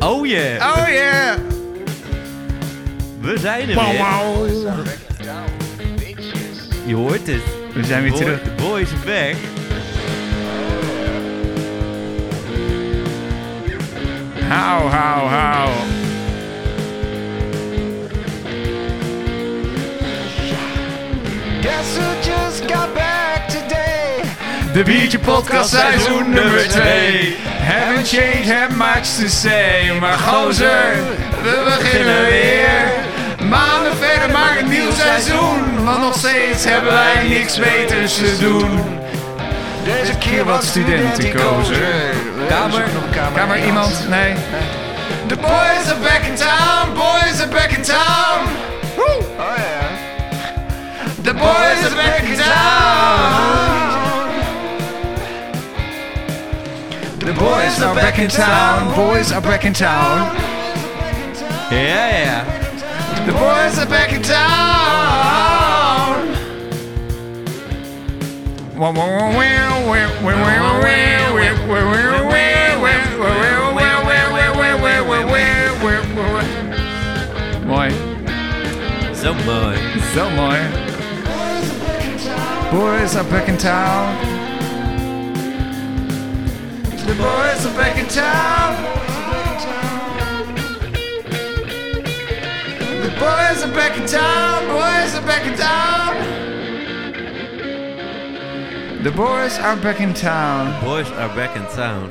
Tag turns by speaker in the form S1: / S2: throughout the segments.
S1: Oh yeah,
S2: Oh yeah!
S1: we zijn er
S2: Wow,
S1: weer.
S2: wow.
S1: Je hoort het.
S2: We zijn weer terug.
S1: The boys are back.
S2: Hou, hou, hou.
S3: Guess who just got back today?
S2: De Biertje Podcast seizoen nummer 2. Haven't changed, have much to say. Maar gozer, we beginnen weer. Maanden verder, maar een nieuw seizoen. Want nog steeds hebben wij niks beters te doen.
S3: Deze
S2: Hier wat studentenkozen. Kamer, kamer iemand? Nee. The boys are back in town, boys are back in town.
S3: Oh ja.
S2: The boys are back in town. The boys are back in town, boys are back in town.
S1: Ja, ja.
S2: The boys are back in town. Mooi,
S1: Zo mooi.
S2: zo mooi. Boys are back in town. The boys are back in town. The boys are back in town. Boys are back in town. The boys are back in town.
S1: Boys are back in town.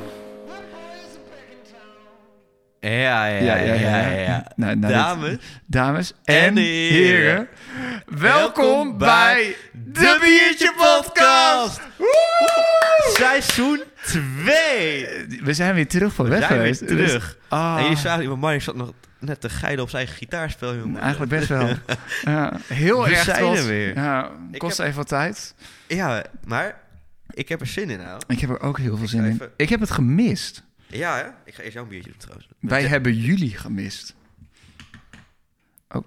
S1: Ja, ja, ja, ja. ja,
S2: Nou, nou,
S1: Dames
S2: dit- dames en
S1: en
S2: heren,
S1: heren,
S2: welkom bij de Biertje Podcast.
S1: seizoen 2.
S2: Eh, We zijn weer terug van weg
S1: Zijn weer
S2: geweest. Dus-
S1: terug.
S2: Ah.
S1: En je zag, maar Mark zat nog net te geiden op zijn eigen gitaarspel. jongen.
S2: Dus Eigenlijk best wel. Ja, heel
S1: We
S2: erg
S1: zijn
S2: trots.
S1: er weer.
S2: Ja,
S1: Ik
S2: kost
S1: heb-
S2: even wat tijd.
S1: Ja, maar ik heb er zin in, nou.
S2: Ik heb er ook heel veel zin in.
S1: even-
S2: Ik heb het gemist.
S1: Ja, hè? ik ga eerst jouw biertje doen trouwens.
S2: Wij hebben jullie gemist.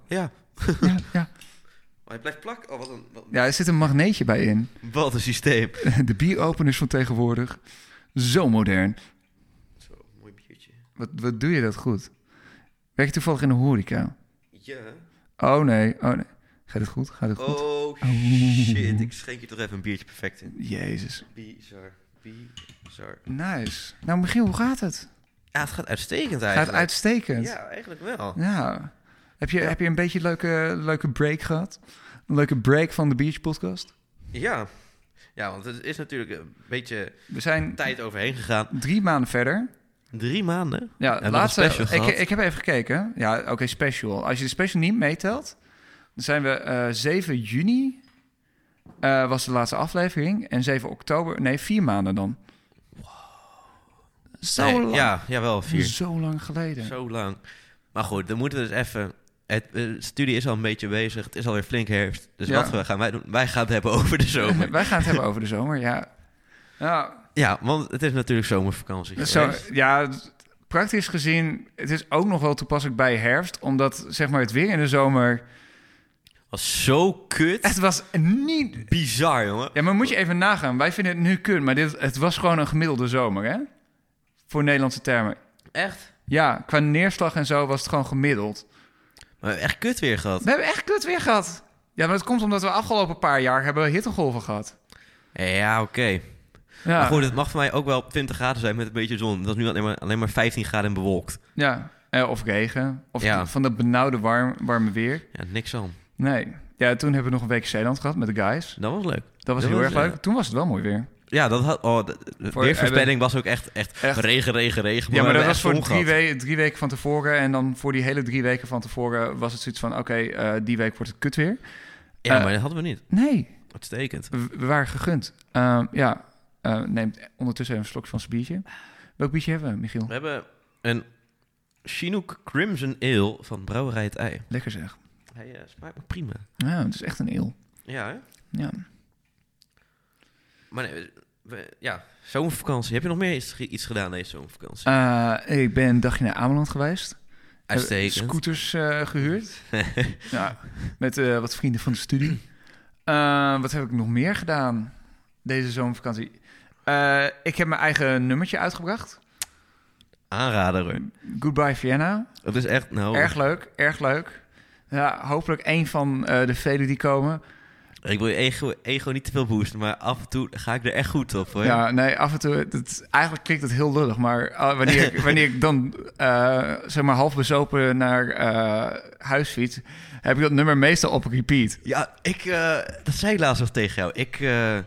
S1: Ja.
S2: Ja, ja.
S1: Maar hij blijft plakken. Oh, wat een, wat,
S2: ja, er zit een magneetje bij in.
S1: wat een systeem.
S2: De bieropeners van tegenwoordig. Zo modern.
S1: Zo, mooi biertje.
S2: Wat, wat doe je dat goed? Werk je toevallig in de horeca?
S1: Ja.
S2: Oh nee, oh nee. Gaat het goed? Gaat het goed?
S1: Oh shit, ik schenk je toch even een biertje perfect in.
S2: Jezus.
S1: Bizar, bizar.
S2: Nice. Nou Michiel, hoe gaat het?
S1: Ja, het gaat uitstekend
S2: Gaat
S1: eigenlijk.
S2: uitstekend.
S1: Ja, eigenlijk wel.
S2: Ja. Heb je, heb je een beetje een leuke, leuke break gehad? Een leuke break van de Beach Podcast?
S1: Ja. Ja, want het is natuurlijk een beetje
S2: We zijn
S1: tijd overheen gegaan.
S2: drie maanden verder.
S1: Drie maanden.
S2: Ja,
S1: nog
S2: laatste,
S1: een special
S2: ik,
S1: gehad.
S2: ik heb even gekeken. Ja, oké, special. Als je de special niet meetelt, dan zijn we eh 7 juni eh, was de laatste aflevering. En 7 oktober, nee, vier maanden dan. Zo,
S1: Nee,
S2: lang,
S1: Ja, jawel, vier.
S2: zo lang geleden.
S1: Zo lang. Maar goed, dan moeten we dus even... Het, de studie is al een beetje bezig. Het is alweer flink herfst. Dus
S2: Ja.
S1: wat we gaan wij doen? Wij gaan het hebben over de zomer.
S2: Wij gaan het hebben over de zomer, ja. Nou,
S1: ja, want het is natuurlijk zomervakantie.
S2: Zo,
S1: geweest.
S2: ja, praktisch gezien, het is ook nog wel toepasselijk bij herfst, omdat zeg maar het weer in de zomer.
S1: was zo kut.
S2: Het was niet.
S1: Bizar, jongen.
S2: Ja, maar moet je even nagaan. Wij vinden het nu kun, maar dit, het was gewoon een gemiddelde zomer, hè? Voor Nederlandse termen.
S1: Echt?
S2: Ja, qua neerslag en zo was het gewoon gemiddeld.
S1: We hebben echt kut weer gehad.
S2: We hebben echt kut weer gehad. Ja, maar dat komt omdat we afgelopen paar jaar hebben we hittegolven gehad.
S1: Ja, oké.
S2: Ja,
S1: Maar goed, het mag voor mij ook wel 20 graden zijn met een beetje zon. Dat is nu alleen maar, alleen maar 15 graden en bewolkt.
S2: ja. Eh, of regen. Of
S1: Ja.
S2: van dat benauwde warm, warme weer.
S1: Ja, niks aan.
S2: Nee. Ja, toen hebben we nog een week Zeeland gehad met de guys.
S1: Dat was leuk.
S2: Dat was
S1: Dat
S2: heel
S1: was,
S2: erg leuk.
S1: eh,
S2: Toen was het wel mooi weer.
S1: Ja, dat had... Oh, de, de
S2: Voor-
S1: weervoorspelling was ook echt, echt,
S2: Echt.
S1: regen, regen, regen.
S2: Ja, maar
S1: we
S2: dat
S1: hebben
S2: was
S1: echt
S2: voor
S1: zon
S2: drie,
S1: gehad.
S2: we- drie weken van tevoren. En dan voor die hele drie weken van tevoren was het zoiets van... oké, eh, die week wordt het kut weer.
S1: Ja,
S2: eh,
S1: maar dat hadden we niet.
S2: Nee,
S1: Uitstekend.
S2: we, we waren gegund. Ehm, ja, eh, neemt ondertussen even een slokje van zijn biertje. Welk biertje hebben we, Michiel?
S1: We hebben een Chinook Crimson Ale van Brouwerij het Ei.
S2: Lekker zeg.
S1: Hij eh, smaakt me prima.
S2: Ja, het is echt een eel.
S1: Ja, hè?
S2: Ja.
S1: Maar nee, we- we- ja, zomervakantie. Heb je nog meer iets, iets gedaan deze zomervakantie?
S2: Eh, ik ben een dagje naar Ameland geweest. Hebben
S1: Uitstekend.
S2: Scooters eh, gehuurd. ja, met eh, wat vrienden van de studie. Eh, wat heb ik nog meer gedaan deze zomervakantie? Eh, ik heb mijn eigen nummertje uitgebracht.
S1: aanrader. hoor.
S2: Goodbye Vienna.
S1: Het is echt, nou,
S2: Erg leuk, erg leuk. Ja, hopelijk één van eh, de velen die komen.
S1: ik wil je ego, ego niet te veel boosten, maar af en toe ga ik er echt goed op hoor.
S2: Oh Ja, nee, af en toe... Het, eigenlijk klinkt het heel lullig, maar eh, wanneer, ik, wanneer ik dan eh, zeg maar half bezopen naar eh huis fiets... heb ik dat nummer meestal op repeat.
S1: Ja, ik, eh, dat zei ik laatst nog tegen jou. Ik eh,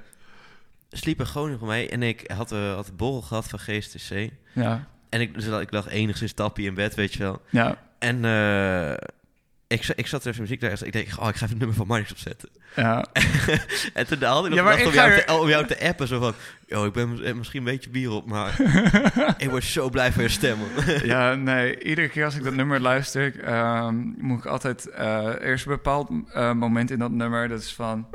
S1: sliep in Groningen voor mij en ik had, eh, had een borrel gehad van GSTC.
S2: Ja,
S1: En ik, dus dat- ik lag enigszins tappie in bed, weet je wel.
S2: ja.
S1: En eh, ik, za- ik zat even muziek daar. Ik denk, oh, ik ga even het nummer van Marnix opzetten.
S2: ja.
S1: en toen had ik nog
S2: Ja, maar
S1: gedacht
S2: ik
S1: om,
S2: ga
S1: jou
S2: er-
S1: te, om jou te appen. Zo van, yo, ik ben mis- eh, misschien een beetje bier op, maar ik word zo blij van je stem. man."
S2: Ja, nee. Iedere keer als ik dat nummer luister, ehm, moet ik altijd eh, eerst een bepaald eh, moment in dat nummer. Dat is van.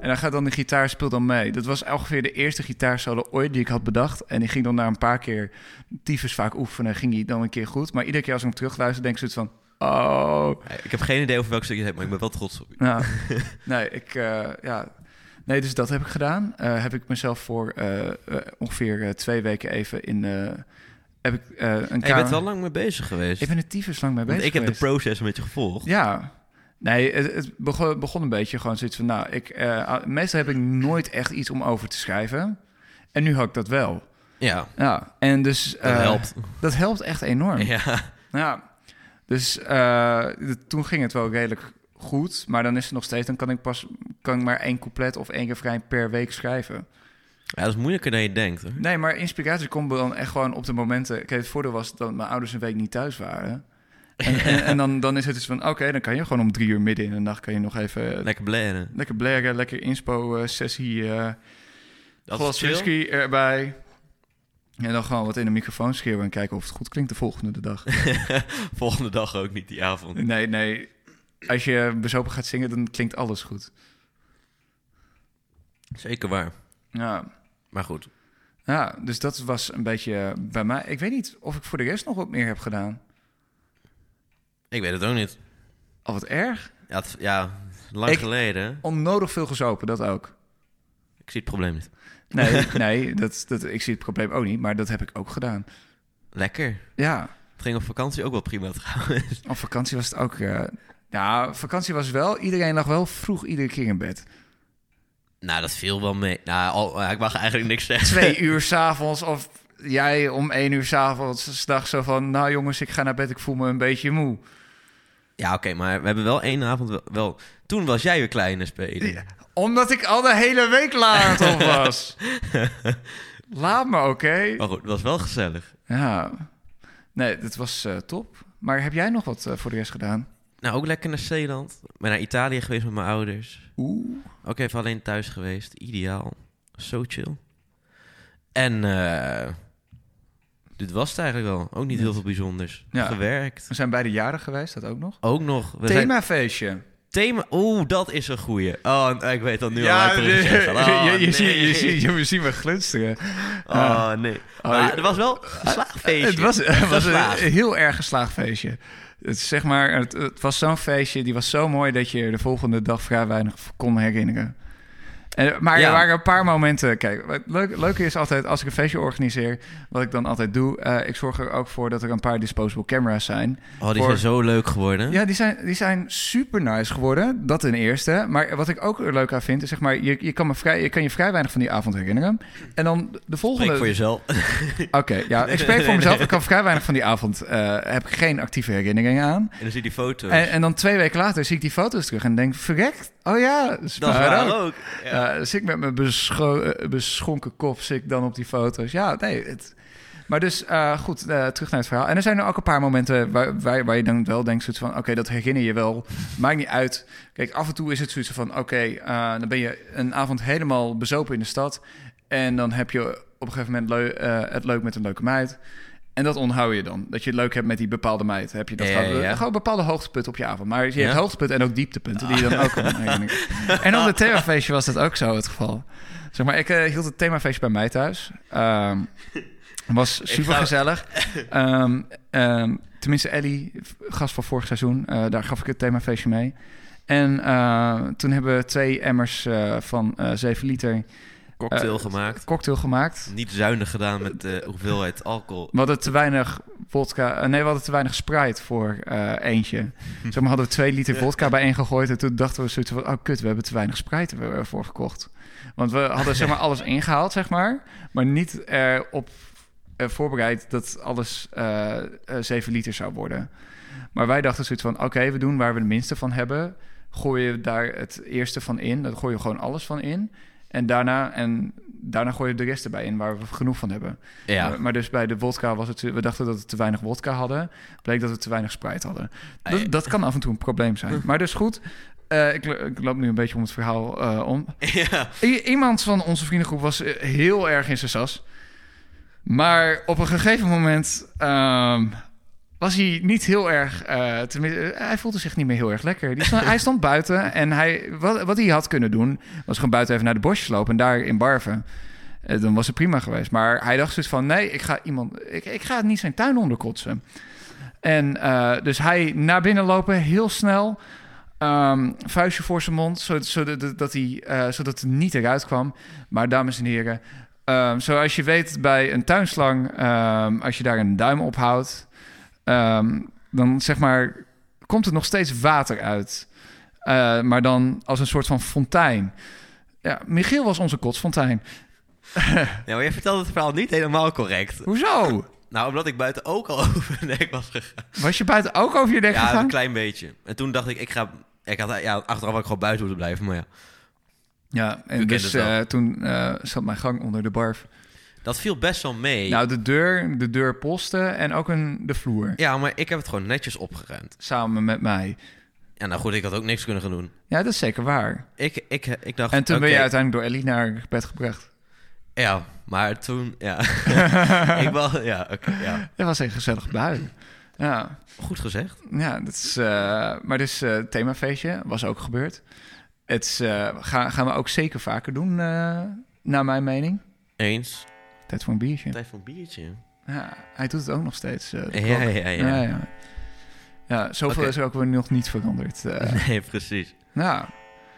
S2: En dan gaat dan de gitaar speelt dan mee. Dat was ongeveer de eerste gitaarsolo ooit die ik had bedacht. En die ging dan na een paar keer tyfus vaak oefenen. Ging die dan een keer goed. Maar iedere keer als ik hem terugluister, denk ik zoiets van... Oh,
S1: ik heb geen idee over welk stuk je hebt, maar ik ben wel trots op je.
S2: nou, nee, ik, eh, ja. nee, dus dat heb ik gedaan. Eh, heb ik mezelf voor eh, eh, ongeveer eh, twee weken even in. eh, heb ik eh, een
S1: Hey, je
S2: kamer-
S1: bent wel lang mee bezig geweest.
S2: Ik ben er tyfus lang mee
S1: Want
S2: bezig.
S1: ik heb de
S2: geweest.
S1: proces met je gevolgd.
S2: Ja. Nee, het, het begon, begon een beetje gewoon zoiets van. Nou, ik, eh, meestal heb ik nooit echt iets om over te schrijven. En nu had ik dat wel.
S1: Ja,
S2: Ja, en dus.
S1: dat
S2: eh,
S1: helpt.
S2: Dat helpt echt enorm.
S1: Ja.
S2: Nou Ja, dus eh, d- toen ging het wel redelijk goed. Maar dan is het nog steeds, dan kan ik pas kan ik maar één couplet of één refrein per week schrijven.
S1: Ja, dat is moeilijker dan je denkt. Hoor.
S2: Nee, maar inspiratie komt dan echt gewoon op de momenten. Kijk, het voordeel was dat mijn ouders een week niet thuis waren. En, en, en dan, dan is het dus van, oké, dan kan je gewoon om drie uur midden in de nacht... kan je nog even
S1: Lekker blaren.
S2: lekker blaren, lekker inspo-sessie, eh
S1: Dat is
S2: glas
S1: chill.
S2: whisky erbij. En dan gewoon wat in de microfoon schreeuwen en kijken of het goed klinkt de volgende dag.
S1: Volgende dag ook niet, die avond.
S2: Nee, nee. Als je bezopen gaat zingen, dan klinkt alles goed.
S1: Zeker waar.
S2: Ja.
S1: Maar goed.
S2: ja, dus dat was een beetje bij mij. Ik weet niet of ik voor de rest nog wat meer heb gedaan.
S1: Ik weet het ook niet.
S2: Al wat erg.
S1: Ja, het- ja lang
S2: Ik-
S1: geleden. hè?
S2: Onnodig veel gezopen, dat ook.
S1: Ik zie het probleem niet.
S2: Nee, nee dat, dat, ik zie het probleem ook niet, maar dat heb ik ook gedaan.
S1: Lekker.
S2: Ja,
S1: Het ging op vakantie ook wel prima trouwens.
S2: op vakantie was het ook... eh nou, vakantie was wel... Iedereen lag wel vroeg iedere keer in bed.
S1: nou, dat viel wel mee. Nou, al- ja, ik mag eigenlijk niks zeggen.
S2: Twee uur s'avonds of jij om één uur s'avonds... s'nachts zo van, nou jongens, ik ga naar bed, ik voel me een beetje moe.
S1: Ja, oké, maar we hebben wel één avond wel, wel- Toen was jij weer kleine speler.
S2: Ja, omdat ik al de hele week laat op was. laat me, oké.
S1: Maar goed, het was wel gezellig.
S2: Ja. Nee, dat was eh, top. Maar heb jij nog wat eh, voor de rest gedaan?
S1: Nou, ook lekker naar Zeeland. Ik ben naar Italië geweest met mijn ouders.
S2: Oeh.
S1: Ook even alleen thuis geweest. Ideaal. Zo chill. En eh, dit was het eigenlijk wel. Ook niet heel veel bijzonders.
S2: Ja.
S1: Gewerkt.
S2: We zijn beide jaren geweest, dat ook nog.
S1: Ook nog. We zijn-
S2: Themafeestje.
S1: Thema. Oeh, dat is een goeie. Oh, en- ik weet dat nu al.
S2: je,
S1: uit de recensie. Oh,
S2: je, je,
S1: nee.
S2: ziet- je, ziet- je, ziet me glinsteren.
S1: Oh, nee.
S2: Oh,
S1: Maar
S2: je-
S1: het was wel een slaagfeestje.
S2: Het was, het was
S1: Geslaagd.
S2: een heel erg geslaagd feestje. Het, is zeg maar, het, het was zo'n feestje, die was zo mooi dat je de volgende dag vrij weinig kon herinneren. En, maar
S1: Ja.
S2: er waren een paar momenten. Kijk, wat leuk, leuk is altijd als ik een feestje organiseer, wat ik dan altijd doe, eh, ik zorg er ook voor dat er een paar disposable camera's zijn.
S1: Oh, die
S2: voor-
S1: zijn zo leuk geworden.
S2: Ja, die zijn, die zijn super nice geworden. Dat ten eerste. Maar wat ik ook er leuk aan vind, is zeg maar, je, je, kan me vrij, je kan je vrij weinig van die avond herinneren. En dan de volgende.
S1: Spreek voor jezelf.
S2: Oké, ja, ik spreek voor mezelf. Ik kan vrij weinig van die avond. eh, heb ik geen actieve herinneringen aan.
S1: En dan zie je die foto's.
S2: En, en dan twee weken later zie ik die foto's terug en denk: verrekt. Oh ja,
S1: dat
S2: Sparrow.
S1: waren ook. Ja.
S2: Eh, zit ik met mijn bescho- eh, beschonken kop, zit ik dan op die foto's. Ja, nee. Het... Maar dus eh, goed, eh, terug naar het verhaal. En er zijn er ook een paar momenten waar, waar, waar je dan wel denkt: zoiets van, oké, dat herinner je wel. Maakt niet uit. Kijk, af en toe is het zoiets van: oké, eh, dan ben je een avond helemaal bezopen in de stad. En dan heb je op een gegeven moment leu- eh, het leuk met een leuke meid. En dat onthoud je dan. Dat je het leuk hebt met die bepaalde meid. Heb je dat
S1: Ja,
S2: gehad?
S1: ja, ja.
S2: Gewoon Oh, bepaalde hoogtepunten op je avond. Maar je
S1: Ja.
S2: hebt hoogtepunten en ook dieptepunten die je dan ook kan herinneren. En op het themafeestje was dat ook zo het geval. Zeg maar, ik eh, hield het themafeestje bij mij thuis. Ehm, Het was super gezellig. Ehm, tenminste, Ellie, gast van vorig seizoen, eh, daar gaf ik het themafeestje mee. En eh, toen hebben we twee emmers eh, van eh 7 liter
S1: Cocktail
S2: Eh,
S1: gemaakt.
S2: Cocktail gemaakt.
S1: Niet zuinig gedaan met de hoeveelheid alcohol.
S2: We hadden te weinig vodka. eh, nee, we hadden te weinig Sprite voor eh, eentje. Zeg maar hadden we twee liter vodka bij één gegooid. En toen dachten we zoiets van: oh kut, we hebben te weinig Sprite er- ervoor gekocht. Want we hadden zeg maar alles ingehaald, zeg maar. Maar niet erop eh, voorbereid dat alles eh eh, 7 liter zou worden. Maar wij dachten zoiets van: oké, we doen waar we de minste van hebben. Gooi je daar het eerste van in. Dan gooi je gewoon alles van in. En daarna, en daarna gooi je de rest erbij in waar we genoeg van hebben.
S1: Ja,
S2: Maar, maar dus bij de wodka was het... We dachten dat we te weinig wodka hadden. Bleek dat we te weinig Sprite hadden.
S1: Ah, ja.
S2: Dat, dat kan af en toe een probleem zijn. Maar dus goed... eh, ik, lo- ik loop nu een beetje om het verhaal eh, om.
S1: ja.
S2: I- iemand van onze vriendengroep was eh, heel erg in zijn sas. Maar op een gegeven moment ehm, was hij niet heel erg... eh, tenminste, eh, hij voelde zich niet meer heel erg lekker. Die sta- hij stond buiten en hij, wat, wat hij had kunnen doen... was gewoon buiten even naar de bosjes lopen en daar in barven. Eh, dan was het prima geweest. Maar hij dacht dus van... nee, ik ga, iemand, ik, ik ga niet zijn tuin onderkotsen. En eh, dus hij naar binnen lopen, heel snel... Ehm, vuistje voor zijn mond, zodat, zodat, dat hij, eh, zodat het niet eruit kwam. Maar dames en heren, ehm, zoals je weet bij een tuinslang, ehm, als je daar een duim ophoudt, ehm dan zeg maar, komt er nog steeds water uit. Eh, maar dan als een soort van fontein. Ja, Michiel was onze kotsfontein.
S1: ja, maar jij vertelde het verhaal niet helemaal correct.
S2: Hoezo?
S1: Nou, omdat ik buiten ook al over de nek was gegaan.
S2: Was je buiten ook over je nek
S1: Ja,
S2: gegaan?
S1: een klein beetje. En toen dacht ik, ik ga... Ik had, ja, achteraf had ik gewoon buiten moeten blijven, maar ja.
S2: Ja, en
S1: U kent
S2: dus
S1: het wel.
S2: eh, toen eh, zat mijn gang onder de barf.
S1: Dat viel best wel mee.
S2: Nou, de deur, de deurposten en ook een, de vloer.
S1: Ja, maar ik heb het gewoon netjes opgeruimd.
S2: Samen met mij.
S1: Ja, nou goed, ik had ook niks kunnen gaan doen.
S2: Ja, dat is zeker waar.
S1: Ik, ik, ik dacht...
S2: En toen ben je
S1: oké,
S2: uiteindelijk door Ellie naar bed gebracht.
S1: Ja, maar toen... Ja, ik wel... Ja, oké, ja.
S2: Dat was een gezellig bui. Ja,
S1: Goed gezegd.
S2: ja dat is, eh, maar dus eh themafeestje was ook gebeurd. Het is, eh, ga, gaan we ook zeker vaker doen, eh, naar mijn mening.
S1: Eens.
S2: Tijd voor een biertje.
S1: Tijd voor een biertje.
S2: Ja, hij doet het ook nog steeds. eh, de
S1: Ja,
S2: klok.
S1: ja, ja.
S2: ja. ja. Ja, zoveel
S1: Oké.
S2: is er ook weer nog niet veranderd. eh.
S1: Nee, precies.
S2: nou,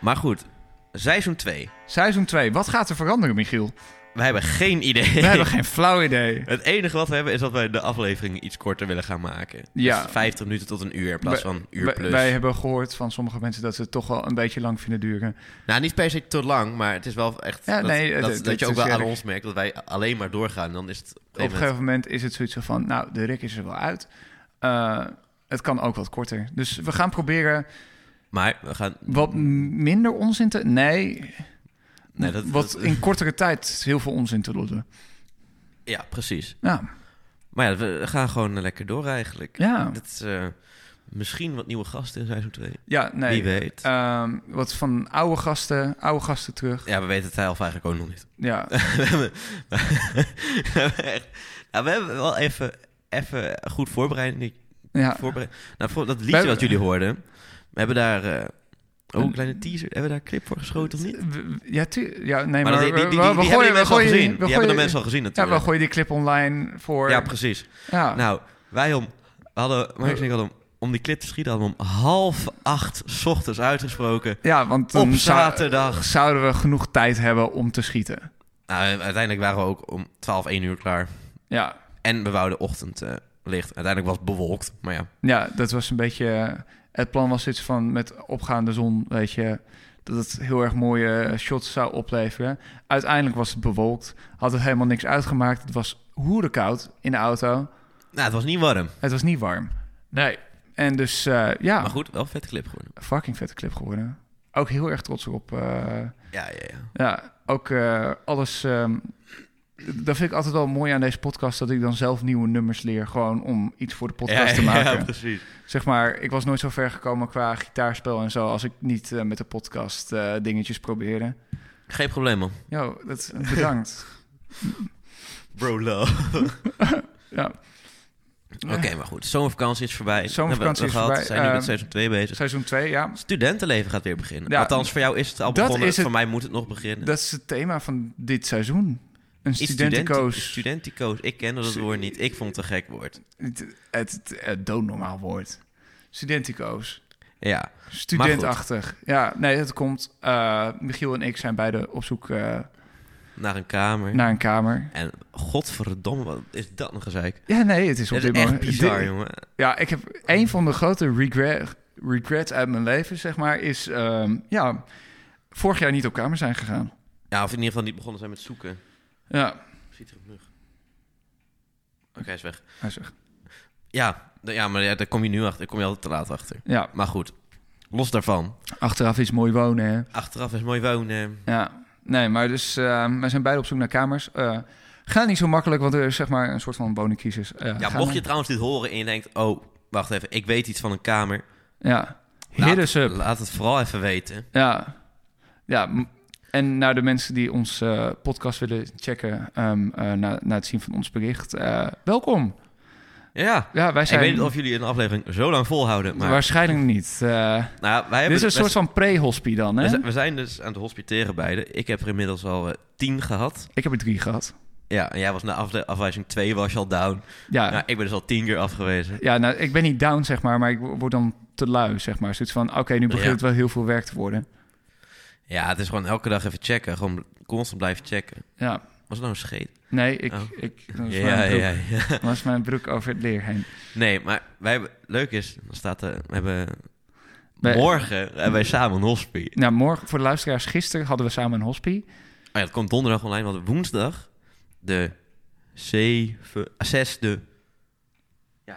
S1: Maar goed, seizoen 2.
S2: seizoen 2. Wat gaat er veranderen, Michiel?
S1: We hebben geen idee.
S2: We hebben geen flauw idee.
S1: Het enige wat we hebben is dat wij de aflevering iets korter willen gaan maken.
S2: Ja.
S1: Dus 50 minuten tot een uur in plaats van uur
S2: Wij-
S1: plus.
S2: Wij hebben gehoord van sommige mensen dat ze het toch wel een beetje lang vinden duren.
S1: Nou, niet per se te lang, maar het is wel echt...
S2: Ja,
S1: dat,
S2: nee,
S1: dat, dat,
S2: het- het-
S1: je
S2: het
S1: ook
S2: is
S1: wel aan
S2: eerlijk.
S1: ons merkt dat wij alleen maar doorgaan. En dan is het... Op een
S2: Op een
S1: gegeven moment-
S2: gegeven moment is het zoiets van, nou, de Rick is er wel uit. Eh, het kan ook wat korter. Dus we gaan proberen
S1: Maar we gaan...
S2: wat m- minder onzin te... Nee,
S1: Nee, dat,
S2: wat
S1: dat-
S2: in kortere tijd heel veel onzin te lodden.
S1: ja, precies.
S2: Nou,
S1: Maar ja, we gaan gewoon lekker door eigenlijk.
S2: ja.
S1: Dat is eh, misschien wat nieuwe gasten in seizoen 2.
S2: Ja,
S1: Wie
S2: nee.
S1: weet.
S2: Ehm, wat van oude gasten, oude gasten terug.
S1: ja, we weten het zelf eigenlijk ook nog niet.
S2: Ja,
S1: we hebben, we hebben echt- nou, we hebben wel even, even goed voorbereid. Nick.
S2: ja.
S1: voorbereid. Nou, voor dat
S2: We
S1: liedje
S2: hebben-
S1: wat jullie hoorden. We hebben daar... eh, oh,
S2: Een-
S1: een kleine teaser. Hebben we daar een clip voor geschoten of niet?
S2: W- w- Ja, tu- ja, nee,
S1: Maar
S2: maar,
S1: dat- die, die, die, die
S2: we- we
S1: hebben
S2: gooien-
S1: de
S2: we
S1: mensen al
S2: gooien-
S1: gezien.
S2: we
S1: Die hebben de
S2: gooien-
S1: mensen al gezien
S2: Ja, we
S1: natuurlijk.
S2: gooien die clip online voor...
S1: Ja, precies.
S2: Ja.
S1: Nou, wij om... we hadden, Marcus en ik hadden om, om die clip te schieten hadden we om half acht 's ochtends uitgesproken.
S2: ja, want
S1: Op
S2: dan zou-
S1: zaterdag.
S2: zouden we genoeg tijd hebben om te schieten.
S1: Nou, en uiteindelijk waren we ook om 12, 1 uur klaar.
S2: Ja,
S1: En we wouden ochtend eh, licht. Uiteindelijk was het bewolkt, maar ja.
S2: Ja, dat was een beetje. eh, Het plan was iets van met opgaande zon, weet je, dat het heel erg mooie eh, shots zou opleveren. Uiteindelijk was het bewolkt, had het helemaal niks uitgemaakt. Het was hoere koud in de auto.
S1: Nou, het was niet warm.
S2: Het was niet warm. Nee. En dus eh, ja,
S1: Maar goed, wel een vette clip geworden.
S2: fucking vette clip geworden. Ook heel erg trots op. eh,
S1: Ja, ja, ja.
S2: ja, ook eh, alles. ehm, dat vind ik altijd wel mooi aan deze podcast, dat ik dan zelf nieuwe nummers leer, gewoon om iets voor de podcast
S1: ja,
S2: te maken.
S1: Ja, precies.
S2: Zeg maar, ik was nooit zo ver gekomen qua gitaarspel en zo... als ik niet eh, met de podcast eh, dingetjes probeerde.
S1: Geen probleem, man.
S2: Yo, dat, bedankt.
S1: Bro love.
S2: ja.
S1: Oké, maar goed. Zomervakantie is voorbij.
S2: Zomervakantie
S1: Hebben we het gehad.
S2: is
S1: We zijn nu
S2: voorbij.
S1: met seizoen 2 bezig.
S2: Seizoen 2, ja.
S1: Studentenleven gaat weer beginnen.
S2: Ja,
S1: Althans, voor jou is het al
S2: dat
S1: begonnen.
S2: is het-
S1: Voor mij moet het nog beginnen.
S2: Dat is het thema van dit seizoen. Een
S1: Iets studenten-
S2: studentenkoos.
S1: Studentico's. Ik kende dat
S2: Stu-
S1: woord niet. Ik vond het een gek woord.
S2: Het, het, het, het doodnormaal woord. Studentico's.
S1: Ja.
S2: Studentachtig. Ja, nee, dat komt. eh, Michiel en ik zijn beide op zoek eh,
S1: naar een kamer.
S2: naar een kamer.
S1: En godverdomme, wat is dat nog gezeik?
S2: Ja, nee, het is op
S1: Dat is
S2: dit
S1: echt
S2: moment...
S1: bizar,
S2: dit-
S1: jongen.
S2: Ja, ik heb een van de grote regret, regrets uit mijn leven, zeg maar, is ehm, ja, vorig jaar niet op kamer zijn gegaan.
S1: Ja, of in ieder geval niet begonnen zijn met zoeken.
S2: Ja,
S1: Ziet er op mug. Oké, hij is weg.
S2: hij zegt.
S1: Ja, d- ja maar ja, daar kom je nu achter. Daar kom je altijd te laat achter.
S2: Ja,
S1: Maar goed, los daarvan.
S2: achteraf is mooi wonen, hè.
S1: Achteraf is mooi wonen.
S2: Ja, nee, maar dus ehm, wij zijn beide op zoek naar kamers. Eh gaat niet zo makkelijk, want er is zeg maar een soort van woningcrisis. Eh,
S1: Ja,
S2: ga
S1: mocht
S2: maar-
S1: je trouwens dit horen en je denkt... Oh, wacht even, ik weet iets van een kamer.
S2: Ja,
S1: Laat-
S2: hit us up.
S1: Laat het vooral even weten.
S2: Ja, ja. m- En naar de mensen die ons eh, podcast willen checken ehm, eh, na, na het zien van ons bericht, eh, welkom.
S1: Ja,
S2: Ja, wij
S1: ik
S2: zijn
S1: weet niet of jullie een aflevering zo lang volhouden. Maar
S2: waarschijnlijk niet. Eh,
S1: nou, wij
S2: dit
S1: hebben
S2: is een
S1: wij-
S2: soort van pre-hospie dan,
S1: we,
S2: hè?
S1: zijn, we zijn dus aan het hospiteren beide. Ik heb er inmiddels al eh, tien gehad.
S2: Ik heb er drie gehad.
S1: Ja, en jij was na afle- afwijzing twee was je al down.
S2: Ja,
S1: Nou, ik ben dus al tien keer afgewezen.
S2: ja nou, ik ben niet down, zeg maar, maar ik wo- word dan te lui, zeg maar. Zoiets van, oké, nu begint
S1: Ja.
S2: het wel heel veel werk te worden.
S1: Ja, het is gewoon elke dag even checken. Gewoon constant blijven checken.
S2: Ja,
S1: Was het nou een scheet?
S2: nee, ik...
S1: Oh.
S2: ik dat is
S1: Ja,
S2: mijn broek.
S1: ja, ja.
S2: Dan was mijn broek over het leer heen.
S1: Nee, maar wij hebben... Leuk is, dan staat er... We hebben...
S2: Wij-
S1: Morgen hebben wij samen een hospie.
S2: Nou, morgen, voor de luisteraars, gisteren hadden we samen een hospie.
S1: Oh ja, dat komt donderdag online, want woensdag de 7, 6e. Ja, 6e.
S2: Ja.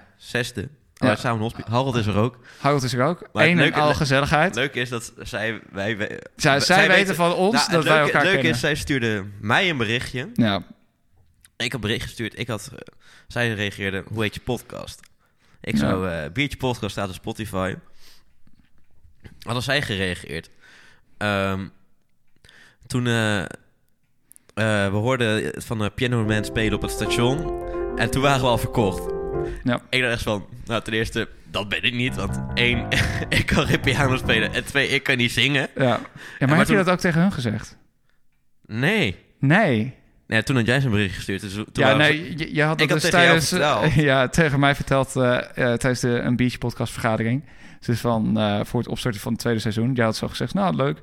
S1: Ja. Samen hospie. Harold is er ook.
S2: Harold is er ook.
S1: Maar het
S2: Eén en
S1: leuke-
S2: al gezelligheid.
S1: Het leuke is dat zij. Wij, wij,
S2: Zij, zij, weten, van ons
S1: Nou,
S2: dat
S1: het
S2: wij
S1: leuke-
S2: elkaar
S1: Het leuke
S2: kennen.
S1: is, zij stuurde mij een berichtje.
S2: Ja,
S1: Ik had bericht gestuurd. Ik had, eh, zij reageerde, hoe heet je podcast? Ik zou, eh, Biertje Podcast staat op Spotify. Hadden zij gereageerd. Ehm, toen eh, eh, we hoorden van de Piano Man spelen op het station. En toen waren we al verkocht.
S2: Ja.
S1: Ik dacht echt van, nou ten eerste, dat ben ik niet. Want één, ik kan geen piano spelen. En twee, ik kan niet zingen.
S2: ja. ja maar,
S1: maar
S2: heb
S1: toen-
S2: je dat ook tegen hun gezegd?
S1: Nee.
S2: Nee.
S1: Nee, toen had jij zijn bericht gestuurd. Dus toen
S2: ja,
S1: waren we-
S2: nee, je, je had
S1: Ik
S2: dat
S1: had
S2: dus
S1: tegen jou
S2: tijdens,
S1: verteld.
S2: ja, tegen mij verteld eh, eh, tijdens de een biertje podcast vergadering. Dus van, eh, voor het opstarten van het tweede seizoen. Jij had zo gezegd, nou leuk.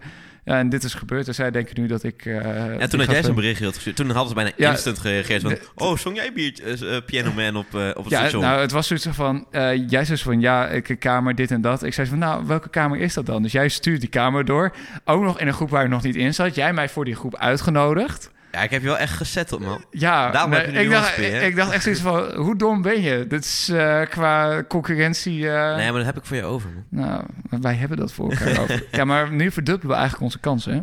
S2: Ja, en dit is gebeurd. En zij denken nu dat ik... eh,
S1: Ja, toen had jij zo'n berichtje had gestuurd. Toen hadden ze bijna
S2: Ja,
S1: instant gereageerd. Van,
S2: de-
S1: oh, zong jij biertje, eh, eh, Piano Man op, eh, op het
S2: Ja,
S1: station?
S2: nou, het was zoiets van, eh, jij zei zo van, ja, ik een kamer, dit en dat. Ik zei zo van, nou, welke kamer is dat dan? Dus jij stuurt die kamer door, ook nog in een groep waar ik nog niet in zat. Jij mij voor die groep uitgenodigd.
S1: Ja, ik heb je wel echt gezetteld, man.
S2: Ja,
S1: Daarom
S2: nee,
S1: heb je nu
S2: ik, dacht,
S1: hoofdpijn, hè?
S2: ik dacht echt zoiets van, hoe dom ben je? Dit is eh, qua concurrentie... eh,
S1: Nee, maar dat heb ik voor je over, man.
S2: Nou, wij hebben dat voor elkaar over. Ja, maar nu verdubbelen we eigenlijk onze kansen, hè?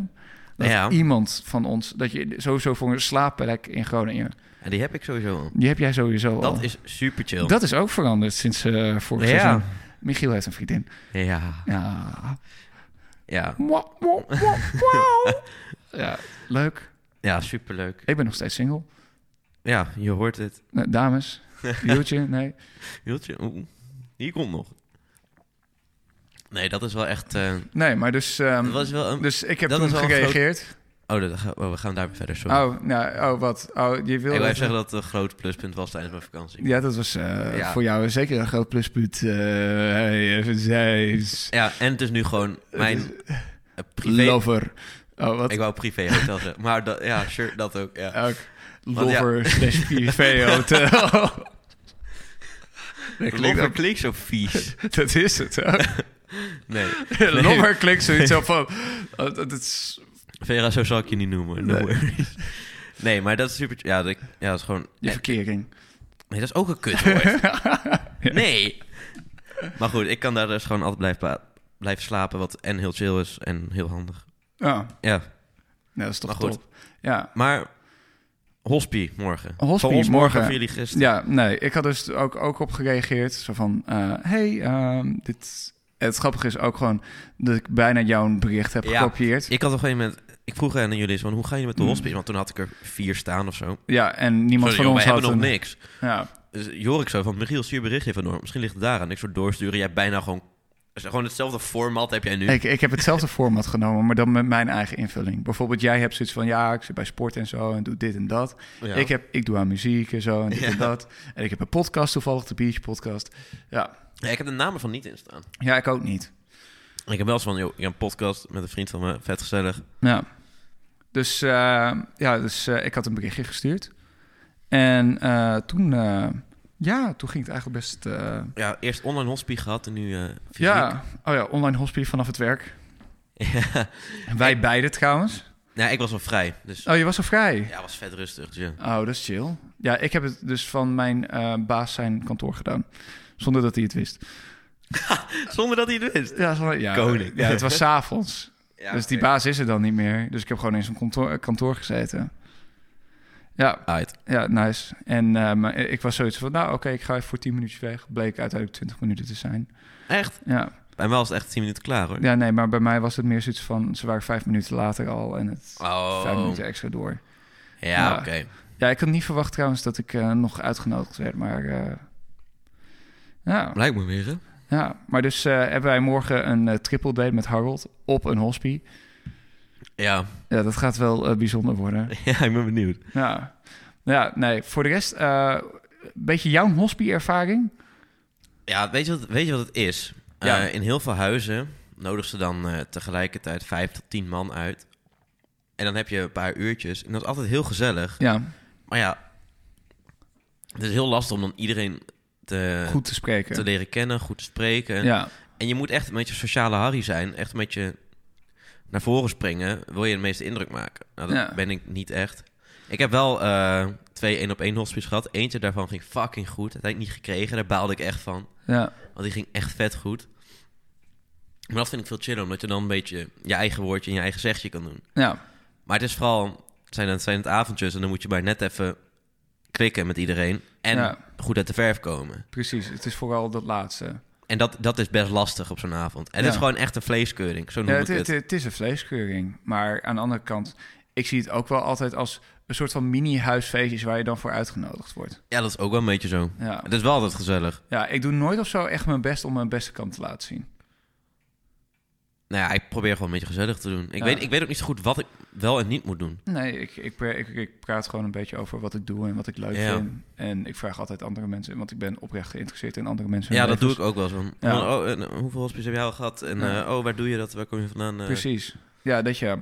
S2: Dat
S1: Ja.
S2: iemand van ons... Dat je sowieso voor een slaapplek in Groningen...
S1: En die heb ik sowieso al.
S2: Die heb jij sowieso al.
S1: Dat is super chill.
S2: Dat is ook veranderd sinds eh vorig
S1: Ja.
S2: seizoen. Michiel heeft een vriendin.
S1: Ja,
S2: Ja.
S1: ja.
S2: Mwah, mwah, mwah, mwah. ja, leuk.
S1: Ja, superleuk.
S2: Ik ben nog steeds single.
S1: Ja, je hoort het.
S2: Eh, Dames, Jultje, nee.
S1: Hieltje, oeh. Die komt nog. Nee, dat is wel echt... eh,
S2: Nee, maar dus... ehm,
S1: dat was wel een...
S2: Dus ik heb
S1: dat
S2: toen
S1: is wel een groot-
S2: gereageerd.
S1: Oh, dat gaan- oh, we gaan daarmee verder, sorry.
S2: Oh, nou, oh, wat? Oh, je
S1: ik
S2: wilde...
S1: wil even zeggen dat het een groot pluspunt was tijdens mijn vakantie.
S2: Ja, dat was eh,
S1: Ja.
S2: voor jou zeker een groot pluspunt. eh, hey, even zijs.
S1: Ja, en het is nu gewoon mijn eh, privé...
S2: Lover. Oh, wat?
S1: Ik wou privé hotel zeggen. Maar dat, ja, sure, dat ook. Ja.
S2: Ook
S1: Want ja.
S2: lover slash privé hotel. dat,
S1: Klinkt
S2: klinkt
S1: dat klinkt zo vies.
S2: ook- dat is het ook.
S1: Nee.
S2: Lover klinkt zoiets op van... oh, dat is,
S1: Vera, zo zal ik je niet noemen. No
S2: Nee.
S1: worries. nee, maar dat is super... Ja, dat, ja, dat is gewoon...
S2: je verkering.
S1: Nee, dat is ook een kutwoord. Nee. Maar goed, ik kan daar dus gewoon altijd blijven, pa- blijven slapen. Wat en heel chill is en heel handig.
S2: Ja,
S1: Ja,
S2: nou, Oh, dat is toch
S1: Maar goed.
S2: top. Ja.
S1: maar... Hospie morgen.
S2: Hospie
S1: Van ons
S2: morgen.
S1: Van jullie gisteren.
S2: ja, nee, ik had dus ook, ook op gereageerd. Zo van, eh, hey, ehm, dit... Het grappige is ook gewoon dat ik bijna jouw bericht heb
S1: Ja.
S2: gekopieerd.
S1: Ik had op een gegeven moment... Ik vroeg aan jullie eens van, hoe ga je met de
S2: Mm.
S1: hospie? Want toen had ik er vier staan of zo.
S2: Ja, en niemand
S1: Sorry,
S2: van
S1: joh,
S2: ons
S1: wij
S2: had
S1: hebben nog
S2: een-
S1: niks.
S2: Ja,
S1: Dus Jorik zo van, Michiel, stuur bericht even door. Misschien ligt het daaraan. Ik soort doorsturen. Jij hebt bijna gewoon... Gewoon hetzelfde format heb jij nu.
S2: ik, ik heb hetzelfde format genomen, maar dan met mijn eigen invulling. Bijvoorbeeld jij hebt zoiets van, ja, ik zit bij sport en zo en doe dit en dat.
S1: Ja.
S2: Ik, heb, ik doe aan muziek en zo en dit
S1: Ja.
S2: en dat. En ik heb een podcast toevallig, de Beach Podcast. Ja,
S1: Ja, ik heb de namen van niet in staan.
S2: ja ik ook niet.
S1: Ik heb wel eens van, joh, ik heb een podcast met een vriend van me. Vet gezellig.
S2: Ja. Dus eh, ja, dus eh, ik had een berichtje gestuurd. En eh, toen, eh, ja, toen ging het eigenlijk best... eh,
S1: Ja, eerst online hospie gehad en nu eh fysiek.
S2: ja, oh ja, online hospice vanaf het werk.
S1: Ja.
S2: En wij beide trouwens.
S1: Nou, ik was wel vrij, dus
S2: Oh, je was al vrij?
S1: ja, was vet rustig. Dus ja.
S2: Oh, dat is chill. Ja, ik heb het dus van mijn eh, baas zijn kantoor gedaan. Zonder dat hij het wist.
S1: Zonder dat hij het wist.
S2: Ja, zonder- ja,
S1: Koning.
S2: Ja, het was s'avonds.
S1: Ja,
S2: dus die
S1: oké.
S2: baas is er dan niet meer. Dus ik heb gewoon in zijn kantoor, kantoor gezeten. Ja,
S1: Uit.
S2: ja, nice. En eh, maar ik was zoiets van, nou oké, ik ga even voor 10 minuutjes weg. Bleek uiteindelijk 20 minuten te zijn.
S1: Echt?
S2: Ja.
S1: Bij mij was het echt 10 minuten klaar hoor.
S2: ja, nee, maar bij mij was het meer zoiets van, ze waren vijf minuten later al en het vijf
S1: Oh,
S2: minuten extra door.
S1: ja,
S2: Ja.
S1: oké.
S2: Ja, ik had niet verwacht trouwens dat ik eh, nog uitgenodigd werd, maar eh, ja,
S1: Blijkt me weer, hè?
S2: ja. Maar dus eh, hebben wij morgen een eh, triple date met Harold op een hospie.
S1: Ja.
S2: Ja, dat gaat wel eh, bijzonder worden.
S1: ja, ik ben benieuwd.
S2: Ja, ja nee, voor de rest, eh, een beetje jouw hospie-ervaring.
S1: Ja, weet je wat, weet je wat het is?
S2: Ja.
S1: Eh, in heel veel huizen nodigen ze dan eh, tegelijkertijd vijf tot tien man uit. En dan heb je een paar uurtjes. En dat is altijd heel gezellig.
S2: Ja,
S1: Maar ja, het is heel lastig om dan iedereen te,
S2: goed te spreken.
S1: te leren kennen, goed te spreken.
S2: ja,
S1: En je moet echt een beetje sociale Harry zijn. Echt een beetje naar voren springen. Wil je de meeste indruk maken? Nou, dat
S2: Ja.
S1: ben ik niet echt. Ik heb wel eh, twee één op één hospices gehad. Eentje daarvan ging fucking goed. Dat had ik niet gekregen. Daar baalde ik echt van.
S2: ja,
S1: Want die ging echt vet goed. Maar dat vind ik veel chiller, omdat je dan een beetje je eigen woordje en je eigen zegje kan doen.
S2: ja,
S1: Maar het is vooral, het zijn, het zijn het avondjes en dan moet je maar net even klikken met iedereen. En
S2: Ja.
S1: goed uit de verf komen.
S2: precies. Het is vooral dat laatste.
S1: En dat, dat is best lastig op zo'n avond. En
S2: Ja.
S1: het is gewoon echt een vleeskeuring, zo noem
S2: Ja,
S1: ik
S2: het,
S1: het.
S2: het, het is een vleeskeuring, maar aan de andere kant, ik zie het ook wel altijd als een soort van mini-huisfeestjes waar je dan voor uitgenodigd wordt.
S1: Ja, dat is ook wel een beetje zo.
S2: Ja.
S1: Het is wel altijd gezellig.
S2: ja, ik doe nooit of zo echt mijn best om mijn beste kant te laten zien.
S1: Nou ja, ik probeer gewoon een beetje gezellig te doen. Ik,
S2: Ja.
S1: weet, ik weet ook niet zo goed wat ik wel en niet moet doen.
S2: Nee, ik, ik, pra- ik, ik praat gewoon een beetje over wat ik doe en wat ik leuk
S1: Ja.
S2: vind. En ik vraag altijd andere mensen, want ik ben oprecht geïnteresseerd in andere mensen.
S1: Ja,
S2: hun
S1: dat doe
S2: levens.
S1: ik ook wel zo.
S2: Ja.
S1: Van, Oh, en, eh, hoeveel hospices heb jij al gehad? En
S2: Ja.
S1: eh, oh, waar doe je dat? Waar kom je vandaan? Eh,
S2: Precies. Ja, dat ja.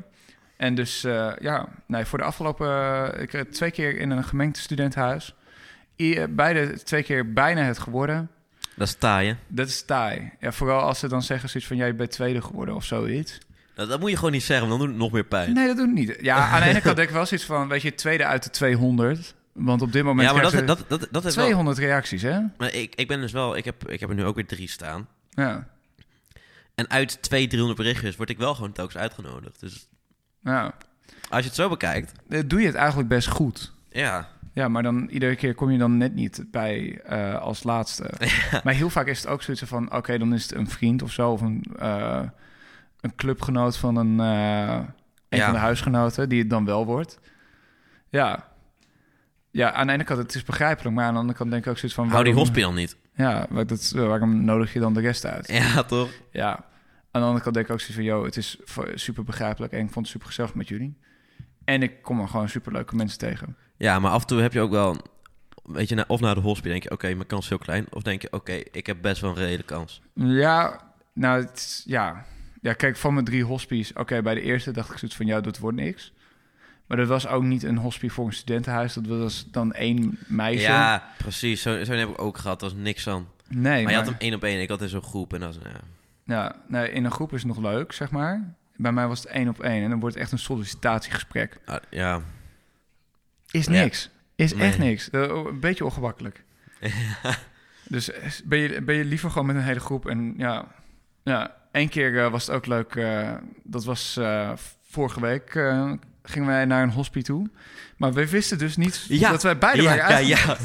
S2: En dus, eh, ja, nee, voor de afgelopen... eh, ik heb twee keer in een gemengd studentenhuis. I- eh, beide twee keer bijna het geworden.
S1: Dat is taaien.
S2: Dat is taai. Ja, vooral als ze dan zeggen zoiets van... jij bent tweede geworden of zoiets.
S1: Nou, dat moet je gewoon niet zeggen, want dan doet het nog meer pijn.
S2: Nee, dat doe ik niet. Ja, aan de ene kant denk ik wel zoiets van... weet je, tweede uit de 200. Want op dit moment
S1: ja, maar dat,
S2: krijgen
S1: dat, dat, dat
S2: ze
S1: is wel...
S2: 200 reacties, hè?
S1: Maar ik, ik ben dus wel... Ik heb, ik heb er nu ook weer drie staan.
S2: Ja,
S1: En uit twee, 300 berichtjes word ik wel gewoon telkens uitgenodigd. Dus
S2: nou,
S1: als je het zo bekijkt...
S2: eh, doe je het eigenlijk best goed.
S1: Ja,
S2: Ja, maar dan iedere keer kom je dan net niet bij eh, als laatste. Maar heel vaak is het ook zoiets van: oké, dan is het een vriend of zo, of een, eh, een clubgenoot van een, eh, een
S1: Ja.
S2: van de huisgenoten, die het dan wel wordt. Ja. Ja, aan de ene kant het is begrijpelijk, maar aan de andere kant denk ik ook zoiets van...
S1: hou die
S2: waarom-
S1: hospie dan niet.
S2: Ja, waar- dat, waarom nodig je dan de rest uit?
S1: Ja, toch?
S2: Ja. Aan de andere kant denk ik ook zoiets van... joh, het is voor- super begrijpelijk en ik vond het super gezellig met jullie. En ik kom er gewoon super leuke mensen tegen.
S1: Ja, maar af en toe heb je ook wel... Weet je, na- of naar de hospie denk je... Oké, mijn kans is heel klein. Of denk je... Oké, ik heb best wel een reële kans.
S2: Ja, nou, het is- ja. Ja, kijk, van mijn drie hospies... Oké, bij de eerste dacht ik zoiets van... Ja, dat wordt niks. Maar dat was ook niet een hospie voor een studentenhuis. Dat was dan één meisje.
S1: Ja, precies. Zo, zo heb ik ook gehad. Dat was niks aan.
S2: nee, maar,
S1: Maar je had hem één op één. Ik had in zo'n groep. En dat is... Ja.
S2: ja, nee, in een groep is het nog leuk, zeg maar. Bij mij was het één op één. En dan wordt het echt een sollicitatiegesprek.
S1: Ah, ja.
S2: Is
S1: Ja.
S2: niks. Is
S1: Nee.
S2: echt niks. Eh, een beetje ongemakkelijk. Dus eh, ben je, ben je liever gewoon met een hele groep. En ja, ja één keer eh, was het ook leuk. eh, dat was eh, vorige week. eh, gingen wij naar een hospie toe. Maar we wisten dus niet
S1: Ja.
S2: dat wij beide
S1: ja,
S2: waren
S1: ja,
S2: uit.
S1: ja.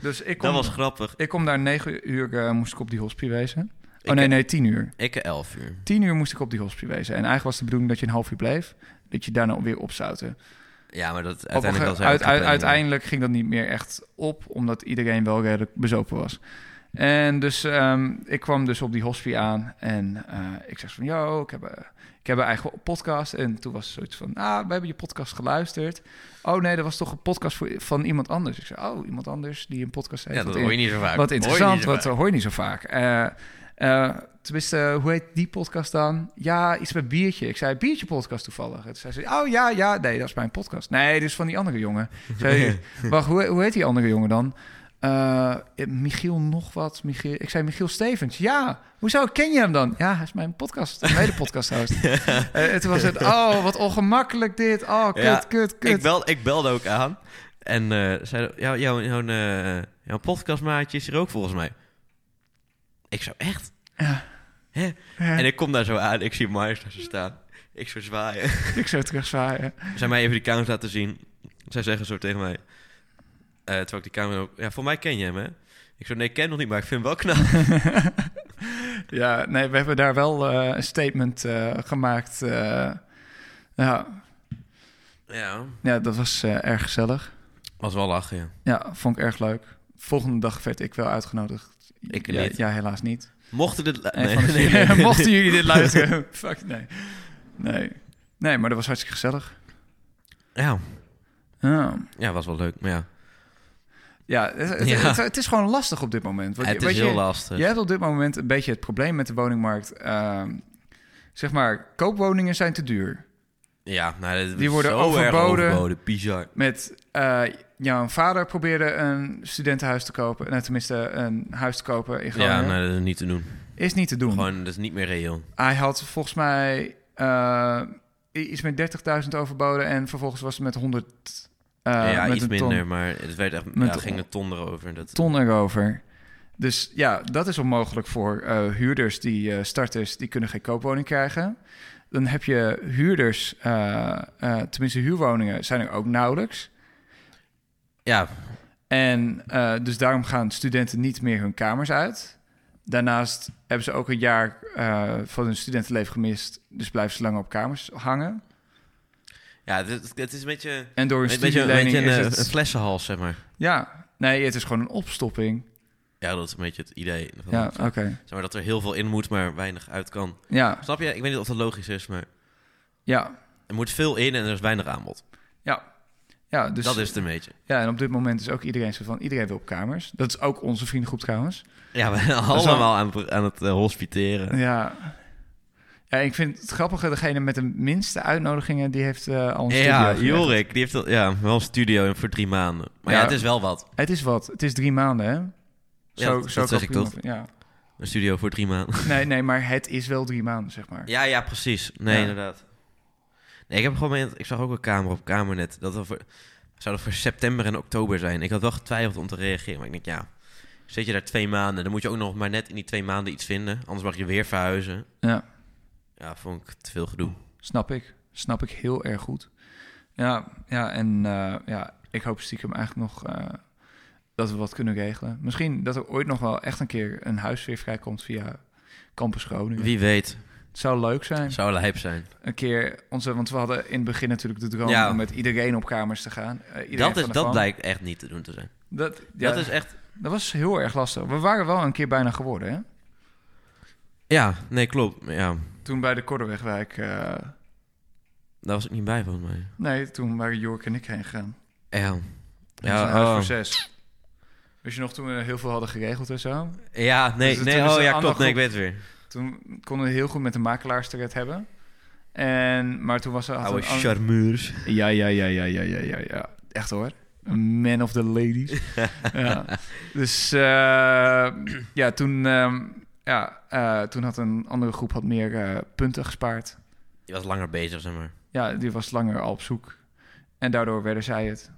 S2: Dus ik
S1: Dat
S2: kom,
S1: was grappig.
S2: ik kom daar negen uur, eh, moest ik op die hospie wezen. Oh
S1: Ik-
S2: nee, nee, tien uur.
S1: Ik eh, elf uur.
S2: Tien uur moest ik op die hospie wezen. En eigenlijk was de bedoeling dat je een half uur bleef. Dat je daarna weer opzouten.
S1: Ja, maar dat
S2: Op een
S1: uiteindelijk...
S2: gege-
S1: was
S2: uit- uit- uiteindelijk ging dat niet meer echt op, omdat iedereen wel redelijk bezopen was. En dus ehm, ik kwam dus op die hospie aan en eh, ik zeg van, yo, ik heb, eh, ik heb een eigen podcast. En toen was het zoiets van, ah, we hebben je podcast geluisterd. Oh nee, dat was toch een podcast voor, van iemand anders. Ik zei, oh, iemand anders die een podcast heeft.
S1: Ja,
S2: Wat
S1: dat hoor je
S2: in-
S1: niet zo vaak. Hoor
S2: Wat
S1: je
S2: interessant,
S1: niet zo
S2: wat
S1: vaak.
S2: hoor je niet zo vaak. Eh, Eh, tenminste, eh, hoe heet die podcast dan? Ja, iets met biertje. Ik zei, biertje podcast toevallig. En toen zei ze, oh ja, ja, nee, dat is mijn podcast. Nee, dus van die andere jongen. Ik Zei, wacht, hoe, hoe heet die andere jongen dan? Eh, Michiel nog wat. Michiel, ik zei, Michiel Stevens. Ja, hoezo, ken je hem dan? Ja, hij is mijn podcast, mijn hele podcast host. en toen was het, oh, wat ongemakkelijk dit. Oh, kut,
S1: Ja,
S2: kut, kut.
S1: Ik, bel, ik belde ook aan. En eh zei, jou, jou, jouw, eh, jouw podcastmaatje is er ook volgens mij. Ik zo, echt?
S2: Ja.
S1: Hè? En ik kom daar zo aan, ik zie Myers daar zo staan. Ik zo zwaaien.
S2: Ik zou terugzwaaien.
S1: Zij mij even die camera's laten zien. Zij zeggen zo tegen mij. eh, terwijl ik die camera ook... Ja, voor mij ken je hem, hè? Ik zo, nee, ik ken hem nog niet, maar ik vind hem wel knap.
S2: Ja, nee, we hebben daar wel eh, een statement eh, gemaakt. eh. ja,
S1: Ja,
S2: ja, dat was eh, erg gezellig.
S1: was wel lachen, ja.
S2: Ja, vond ik erg leuk. Volgende dag werd ik wel uitgenodigd.
S1: Ik
S2: ja,
S1: niet.
S2: Ja, helaas niet.
S1: Mochten dit... lu-
S2: Een van de vier- Mochten jullie dit luisteren? Fuck, nee. Nee. Nee, maar dat was hartstikke gezellig.
S1: Ja,
S2: Ja,
S1: ja, was wel leuk, maar ja.
S2: ja, het, het-
S1: Ja.
S2: het- het is gewoon lastig op dit moment. Want
S1: het
S2: je-
S1: is
S2: weet
S1: heel
S2: je,
S1: lastig.
S2: Je hebt op dit moment een beetje het probleem met de woningmarkt. Ehm, zeg maar, koopwoningen zijn te duur.
S1: Ja, nou, dat
S2: Die worden
S1: zo
S2: overboden.
S1: Erg overboden. Bizar.
S2: Met eh, jouw vader probeerde een studentenhuis te kopen. Nou, tenminste, een huis te kopen in Groningen.
S1: Ja, nou, dat is niet te doen.
S2: Is niet te doen.
S1: Gewoon, dat is niet meer reëel.
S2: Hij had volgens mij eh, i- iets met 30.000 overboden. En vervolgens was het met 100... eh,
S1: ja,
S2: met
S1: iets
S2: een ton-
S1: minder, maar het werd echt,
S2: Met
S1: ja,
S2: een-
S1: ging een ton erover. en Dat,
S2: ton erover. Dus ja, dat is onmogelijk voor eh, huurders die eh, starters, die kunnen geen koopwoning krijgen. Dan heb je huurders, eh, eh, tenminste huurwoningen, zijn er ook nauwelijks.
S1: Ja,
S2: En eh, dus daarom gaan studenten niet meer hun kamers uit. Daarnaast hebben ze ook een jaar eh, van hun studentenleven gemist. Dus blijven ze langer op kamers hangen.
S1: ja het, is- het is een beetje, een
S2: En door hun
S1: beetje, een,
S2: studielening
S1: beetje
S2: is
S1: een,
S2: het...
S1: een flessenhals, zeg maar.
S2: Ja, nee, het is gewoon een opstopping.
S1: Ja, dat is een beetje het idee. Dat-
S2: Ja, oké.
S1: Zeg maar dat er heel veel in moet, maar weinig uit kan.
S2: Ja,
S1: Snap je? Ik weet niet of dat logisch is, maar
S2: ja,
S1: er moet veel in en er is weinig aanbod.
S2: ja. Dus
S1: dat is het een beetje.
S2: Ja, en op dit moment is ook iedereen zo van... iedereen wil op kamers. Dat is ook onze vriendengroep trouwens.
S1: Ja,
S2: Dus
S1: we zijn allemaal aan het, aan het eh, hospiteren.
S2: Ja. ja, ik vind het grappige... degene met de minste uitnodigingen... die heeft eh al een studio
S1: Ja,
S2: gelegd.
S1: Jorik, die heeft al- ja, wel een studio voor drie maanden. Maar ja,
S2: Ja.
S1: het is wel wat.
S2: Het is wat. Het is drie maanden, hè?
S1: dat- dat
S2: kan
S1: zeg ik
S2: prima-
S1: toch?
S2: Ja.
S1: Een studio voor drie maanden.
S2: Nee, nee, maar het is wel drie maanden, zeg maar.
S1: Ja, ja, precies. Nee,
S2: Ja.
S1: inderdaad. Nee, ik heb gewoon mee, ik zag ook een kamer op kamer net. Dat er voor, zou dat voor september en oktober zijn. Ik had wel getwijfeld om te reageren, maar ik denk ja, zit je daar twee maanden, dan moet je ook nog maar net in die twee maanden iets vinden. Anders mag je weer verhuizen.
S2: Ja.
S1: Ja, vond ik te veel gedoe.
S2: Snap ik. Snap ik heel erg goed. Ja, ja en eh, ja, ik hoop stiekem eigenlijk nog... eh, dat we wat kunnen regelen. Misschien dat er ooit nog wel echt een keer... een huis weer vrijkomt via Campus Groningen.
S1: Wie weet,
S2: Het zou leuk zijn.
S1: zou lijp zijn.
S2: een keer onze, want we hadden in het begin natuurlijk de droom
S1: Ja.
S2: om met iedereen op kamers te gaan. Eh, iedereen
S1: Dat,
S2: van
S1: is,
S2: de
S1: dat
S2: gang.
S1: lijkt echt niet te doen te zijn.
S2: Dat, ja,
S1: Dat is echt,
S2: dat was heel erg lastig. We waren wel een keer bijna geworden, hè?
S1: ja, nee, klopt. Ja,
S2: Toen bij de Korderwegwijk. eh,
S1: daar was ik niet bij volgens mij.
S2: nee, toen waren Jork en ik heen gegaan.
S1: Ja,
S2: Ja,
S1: ja,
S2: huis
S1: oh.
S2: voor zes. Weet je nog toen we heel veel hadden geregeld en zo?
S1: ja nee,
S2: Dus toen
S1: nee,
S2: is
S1: oh
S2: de
S1: ja,
S2: aandacht
S1: klopt. Nee, ik
S2: op-
S1: weet het weer.
S2: Toen konden we heel goed met de makelaars te red hebben. En, maar toen was er... had
S1: Oude
S2: een ander-
S1: charmeurs.
S2: Ja, ja, ja, ja, ja, ja, ja, ja. Echt hoor. Een man of the ladies. ja. Dus eh, ja, toen, ehm, ja eh, toen had een andere groep had meer eh, punten gespaard.
S1: Je was langer bezig, zeg maar.
S2: Ja, die was langer al op zoek. En daardoor werden zij het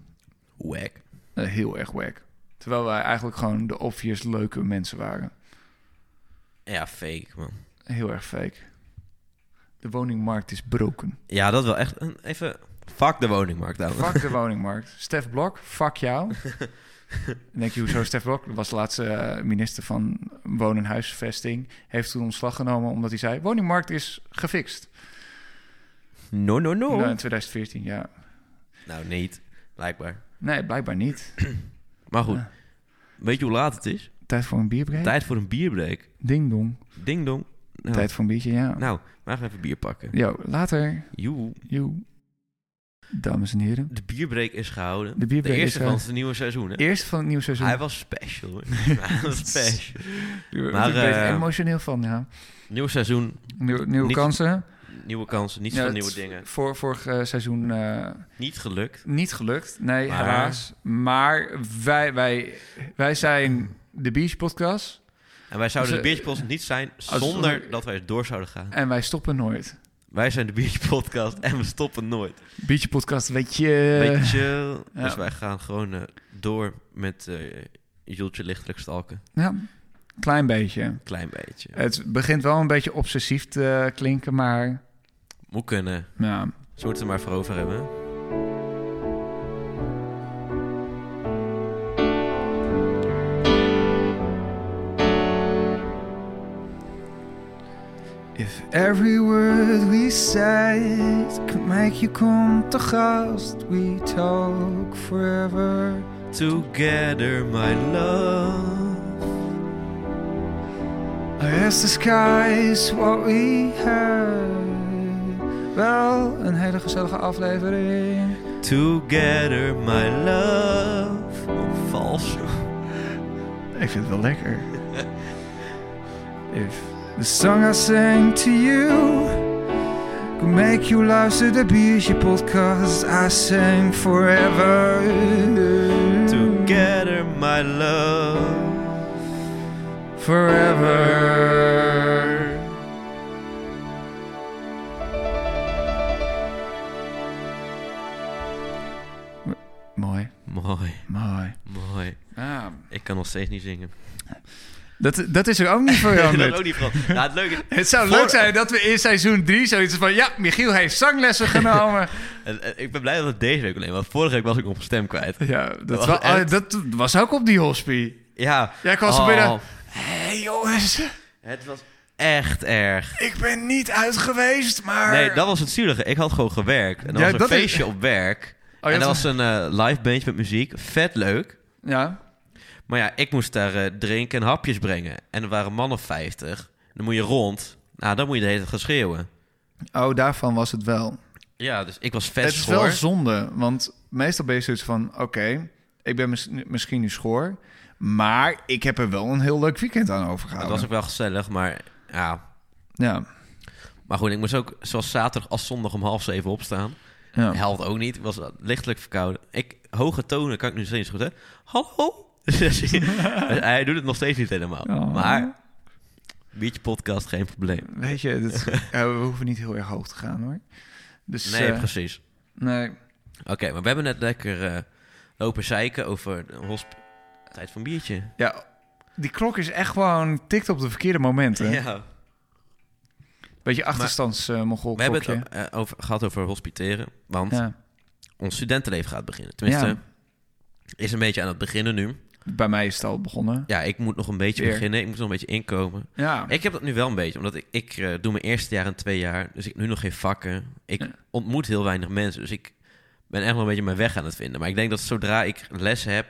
S1: Wack.
S2: eh, heel erg wack. Terwijl wij eigenlijk gewoon de obvious leuke mensen waren.
S1: Ja, fake, man.
S2: Heel erg fake. De woningmarkt is broken.
S1: Ja, dat wel echt. een- Even. Fuck de woningmarkt, ouwe.
S2: Fuck de woningmarkt. Stef Blok, fuck jou. Dan denk je, hoezo Stef Blok? Dat was de laatste eh, minister van Woon- en Huisvesting. Heeft toen ontslag genomen omdat hij zei... woningmarkt is gefixt.
S1: No, no, no.
S2: Nou, in 2014, ja.
S1: Nou, niet. Blijkbaar.
S2: Nee, blijkbaar niet.
S1: Maar goed.
S2: Ja.
S1: Weet je hoe laat het is?
S2: Tijd voor een bierbreak?
S1: Tijd voor een bierbreak.
S2: Ding dong.
S1: Ding dong. Nou,
S2: Tijd voor een biertje, ja.
S1: nou, we gaan even bier pakken.
S2: Yo, later.
S1: Joe.
S2: Joe. dames en heren.
S1: De bierbreak is gehouden.
S2: De bierbreak is eh,
S1: eerste van
S2: gehouden.
S1: het nieuwe seizoen, hè?
S2: Eerst van het nieuwe seizoen.
S1: Hij was special, hoor. Hij was special. maar,
S2: ik ben er
S1: eh,
S2: emotioneel van, ja.
S1: Nieuw seizoen,
S2: Nieuwe, nieuwe
S1: niet-
S2: kansen.
S1: nieuwe kansen, niet
S2: Ja,
S1: veel
S2: het
S1: nieuwe
S2: is
S1: dingen.
S2: Voor, vorig eh, seizoen eh,
S1: Niet gelukt.
S2: niet gelukt. Nee,
S1: Maar-
S2: helaas. Maar wij, wij, wij zijn de Beach Podcast
S1: En wij zouden
S2: Dus,
S1: de Beertje Podcast niet zijn zonder
S2: zonder-
S1: dat wij door zouden gaan.
S2: en wij stoppen nooit.
S1: Wij zijn de Beertje Podcast en we stoppen nooit.
S2: Beach Podcast, weet je.
S1: Beetje chill.
S2: Eh, ja.
S1: Dus wij gaan gewoon eh, door met eh Jultje lichtelijk stalken.
S2: Ja, klein beetje.
S1: Klein beetje.
S2: Het begint wel een beetje obsessief te klinken, maar
S1: Moet kunnen.
S2: ja,
S1: Ze moeten het maar voor over hebben.
S2: If every word we said could make you come to gast, we talk forever.
S1: Together, my love.
S2: As the sky is what we have. Wel een hele gezellige aflevering.
S1: Together, my love. Oh, vals.
S2: Ik vind het wel lekker. If the song I sang to you could make you luister de biertje podcast, I sang forever.
S1: Together, my love.
S2: forever. Mooi,
S1: Mooi,
S2: mooi.
S1: mooi.
S2: Ah.
S1: Ik kan nog steeds niet zingen.
S2: dat, dat is er ook niet
S1: dat
S2: veranderd.
S1: ook niet van. Nou, het leuke
S2: Het zou
S1: Voor-
S2: leuk zijn dat we in seizoen 3 zoiets van... Ja, Michiel heeft zanglessen genomen.
S1: En, en ik ben blij dat het deze week alleen, want vorige week was ik nog mijn stem kwijt.
S2: ja, dat,
S1: was
S2: wa-
S1: echt-
S2: ah, dat was ook op die hospie.
S1: Ja.
S2: Ja, ik was
S1: Oh,
S2: er binnen. Hé hey, jongens,
S1: Het was echt erg.
S2: ik ben niet uit geweest, maar...
S1: Nee, dat was het zielige. Ik had gewoon gewerkt. En er
S2: Ja,
S1: was een
S2: dat is-
S1: feestje op werk.
S2: Oh, ja,
S1: en er
S2: dat-
S1: was een eh, live bandje met muziek. Vet leuk.
S2: Ja,
S1: Maar ja, ik moest daar eh, drinken en hapjes brengen. En er waren mannen 50. Dan moet je rond. Nou, dan moet je de hele tijd gaan schreeuwen.
S2: oh, daarvan was het wel.
S1: Ja, dus ik was vet
S2: het is
S1: schoor.
S2: wel zonde, want meestal ben je zoiets van... oké, ik ben mis- misschien nu schoor... maar ik heb er wel een heel leuk weekend aan
S1: Het
S2: overgehouden.
S1: was ook wel gezellig, maar ja.
S2: Ja,
S1: Maar goed, ik moest ook zoals zaterdag als zondag om half zeven opstaan.
S2: ja.
S1: Helpt ook niet. Ik was lichtelijk verkouden. Ik, hoge tonen kan ik nu steeds goed, hè? Hallo? Dus Hij doet het nog steeds niet helemaal.
S2: Oh.
S1: Maar, biertje podcast, geen probleem.
S2: Weet je, dat, ja, we hoeven niet heel erg hoog te gaan, hoor. Dus,
S1: Nee,
S2: eh,
S1: precies.
S2: nee.
S1: Oké, maar we hebben net lekker eh, lopen zeiken over de hosp... Tijd van biertje.
S2: Ja, die klok is echt gewoon... tikt op de verkeerde momenten.
S1: Ja.
S2: Beetje achterstands eh mongol
S1: We hebben het
S2: klokje.
S1: eh, over, gehad over hospiteren, want
S2: ja.
S1: ons studentenleven gaat beginnen. Tenminste,
S2: Ja.
S1: is een beetje aan het beginnen nu.
S2: Bij mij is het al begonnen.
S1: Ja, ik moet nog een beetje
S2: Weer.
S1: beginnen. Ik moet nog een beetje inkomen.
S2: Ja,
S1: Ik heb dat nu wel een beetje, omdat ik, ik eh, doe mijn eerste jaar en twee jaar. Dus ik heb nu nog geen vakken. Ik
S2: Ja.
S1: ontmoet heel weinig mensen, dus ik ben echt nog een beetje mijn weg aan het vinden. Maar ik denk dat zodra ik les heb,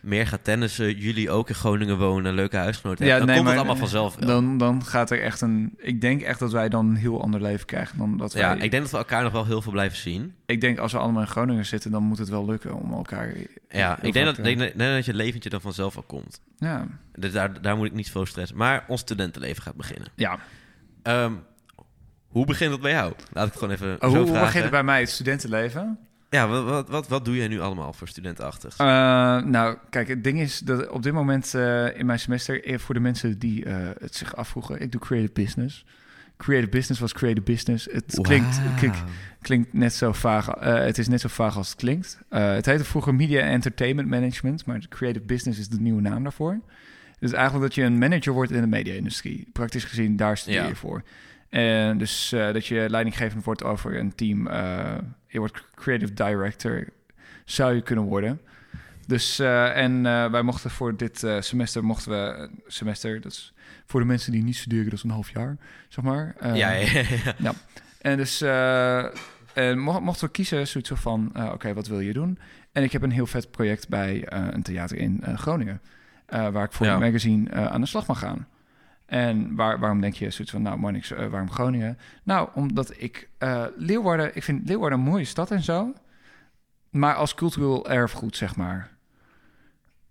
S1: meer ga tennissen, jullie ook in Groningen wonen, leuke huisgenoten
S2: Ja,
S1: hebben, dan
S2: nee,
S1: komt
S2: maar-
S1: het allemaal vanzelf wel.
S2: dan, dan gaat er echt een... Ik denk echt dat wij dan een heel ander leven krijgen dan dat wij...
S1: Ja, ik denk dat we elkaar nog wel heel veel blijven zien.
S2: ik denk als we allemaal in Groningen zitten, dan moet het wel lukken om elkaar.
S1: Ja, ik denk dat,
S2: Ja,
S1: denk, denk dat je leventje dan vanzelf al komt.
S2: ja.
S1: Dus daar, daar moet ik niet veel stress. Maar ons studentenleven gaat beginnen.
S2: ja.
S1: Ehm, hoe begint dat bij jou? Laat ik het gewoon even
S2: Oh,
S1: zo
S2: hoe
S1: vragen.
S2: begint het bij mij het studentenleven?
S1: Ja, wat, wat, wat, wat doe jij nu allemaal voor studentachtig?
S2: Eh, nou, kijk, het ding is dat op dit moment eh, in mijn semester, eh, voor de mensen die eh, het zich afvroegen, ik doe creative business. Creative business was creative business. Het klinkt,
S1: Wauw.
S2: klink- klinkt net zo vaag. eh, het is net zo vaag als het klinkt. Eh, het heette vroeger Media and Entertainment Management, maar Creative Business is de nieuwe naam daarvoor. Dus eigenlijk dat je een manager wordt in de media-industrie. Praktisch gezien, daar studeer je
S1: Ja.
S2: voor. En dus eh, dat je leidinggevend wordt over een team. eh, je wordt creative director, zou je kunnen worden. Dus, eh, en eh, wij mochten voor dit eh, semester, mochten we, een semester, dat is voor de mensen die niet studeren, dat is een half jaar, zeg maar. Eh,
S1: ja, ja, ja.
S2: en dus eh, en mo- mochten we kiezen, zoiets van, eh, oké, wat wil je doen? En ik heb een heel vet project bij eh, een theater in eh, Groningen, eh, waar ik voor
S1: Ja.
S2: een magazine eh, aan de slag mag gaan. En waar, waarom denk je zoiets van, nou Marnix, eh, waarom Groningen? Nou, omdat ik eh, Leeuwarden, ik vind Leeuwarden een mooie stad en zo. maar als cultureel erfgoed, zeg maar.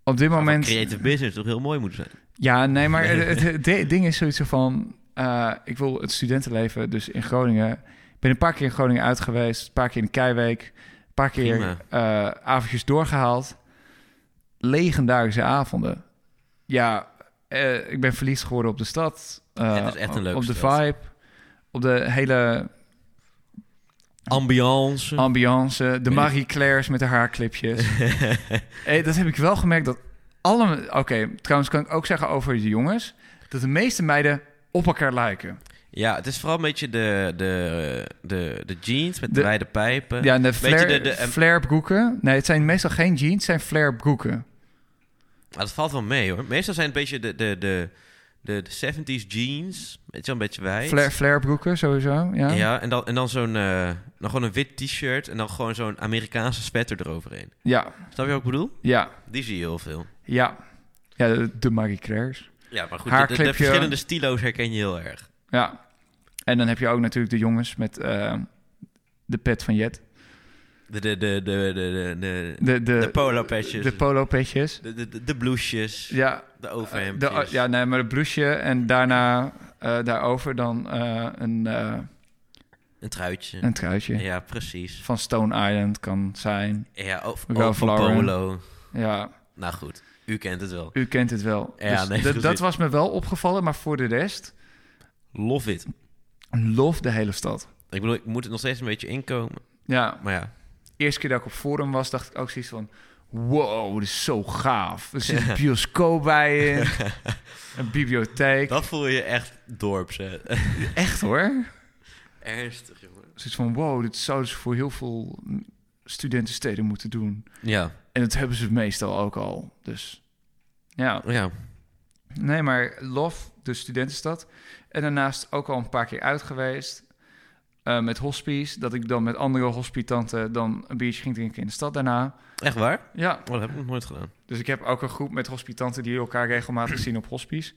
S2: Op dit moment...
S1: Creative business toch heel mooi moeten zijn.
S2: Ja, nee, maar het, het- het de- ding is zoiets van... eh, ik wil het studentenleven dus in Groningen... Ik ben een paar keer in Groningen uit geweest. Een paar keer in Keiweek. Een paar keer
S1: Prima.
S2: eh avondjes doorgehaald. Legendarische avonden. Ja, eh, ik ben verliefd geworden op de stad. eh,
S1: Het is echt een leuke
S2: Op de
S1: stad.
S2: vibe. Op de hele
S1: Ambiance.
S2: ambiance. De Marie Claire's met haar haarklipjes. Eh, dat heb ik wel gemerkt dat alle... Oké, trouwens kan ik ook zeggen over de jongens... dat de meeste meiden op elkaar lijken.
S1: ja, het is vooral een beetje de, de, de, de jeans met
S2: De-
S1: de wijde pijpen.
S2: Ja, en de
S1: Weet je,
S2: flare,
S1: Eh, de- de- en-
S2: flare broeken. Nee, het zijn meestal geen jeans, het zijn flare broeken.
S1: Maar Ah, dat valt wel mee hoor. Meestal zijn het een beetje de, de, de, de, de 70s jeans. Weet je wel, een beetje wijd.
S2: Flare, flare broeken sowieso, ja. ja.
S1: Ja, en dan, en dan zo'n eh, dan gewoon een wit t-shirt en dan gewoon zo'n Amerikaanse spetter eroverheen.
S2: Ja,
S1: Snap je wat ik bedoel?
S2: ja,
S1: Die zie je heel veel.
S2: ja. de, de Marie Claire's.
S1: Ja, maar goed, de- de, de,
S2: Haarklipje.
S1: verschillende stilo's herken je heel erg.
S2: Ja. En dan heb je ook natuurlijk de jongens met eh, de pet van Jet.
S1: De, de, de, de, de, de, de,
S2: De, de,
S1: de polo petjes.
S2: de
S1: De,
S2: polo-petjes.
S1: de, de, de bloesjes.
S2: Ja,
S1: De overhemdjes.
S2: De- oh, ja, nee, maar het blouseje en daarna eh, daarover dan eh, een, eh,
S1: Een truitje.
S2: een truitje.
S1: Ja, precies.
S2: Van Stone Island kan zijn.
S1: Ja, of,
S2: Ralph
S1: of van
S2: Lauren.
S1: polo.
S2: Ja,
S1: Nou goed, u kent het wel.
S2: u kent het wel.
S1: Ja,
S2: Dus
S1: nee,
S2: dat-
S1: precies.
S2: dat was me wel opgevallen, maar voor de rest,
S1: Love it.
S2: lof de hele stad.
S1: Ik bedoel, ik moet het nog steeds een beetje inkomen.
S2: Ja,
S1: Maar ja,
S2: eerste keer dat ik op Forum was, dacht ik ook zoiets van... Wow, dit is zo gaaf. Er zit een bioscoop bij in, een bibliotheek.
S1: dat voel je echt dorps. hè.
S2: Echt hoor.
S1: Ernstig, jongen.
S2: Zoiets van, wow, dit zouden ze voor heel veel mm, studentensteden moeten doen.
S1: Ja,
S2: En dat hebben ze meestal ook al. Dus ja,
S1: ja.
S2: nee, maar Lof, de studentenstad. En daarnaast ook al een paar keer uit geweest eh, met hospice. Dat ik dan met andere hospitanten dan een biertje ging drinken in de stad daarna.
S1: Echt waar?
S2: Ja,
S1: Oh, dat heb ik nog nooit gedaan.
S2: dus ik heb ook een groep met hospitanten die elkaar regelmatig zien op hospice.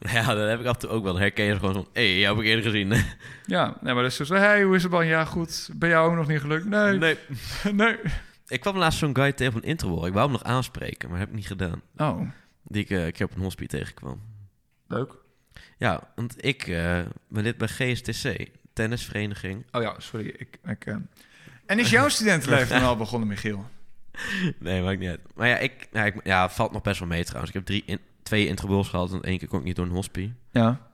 S1: Ja, dat heb ik af en toe ook wel. Dan Herken je gewoon zo'n... Hé, hey, jou heb ik eerder gezien.
S2: Ja, nee, maar dat is zo, hey, hoe is het dan? Ja, goed. Ben jou ook nog niet gelukt? Nee, nee.
S1: Nee. Ik kwam laatst zo'n guy tegen op een interval. Ik wou hem nog aanspreken, maar heb ik niet gedaan.
S2: Oh,
S1: Die ik, eh, een keer op een hospice tegenkwam.
S2: leuk.
S1: Ja, want ik eh, ben lid bij GSTC. Tennisvereniging.
S2: Oh ja, sorry. Ik, ik, eh. En is jouw studentenleven dan al begonnen, Michiel?
S1: Nee, maakt niet uit. Maar ja, ik, ja, ik, ja, valt nog best wel mee trouwens. Ik heb drie in, twee intrabuls gehad en één keer kon ik niet door een hospice.
S2: Ja.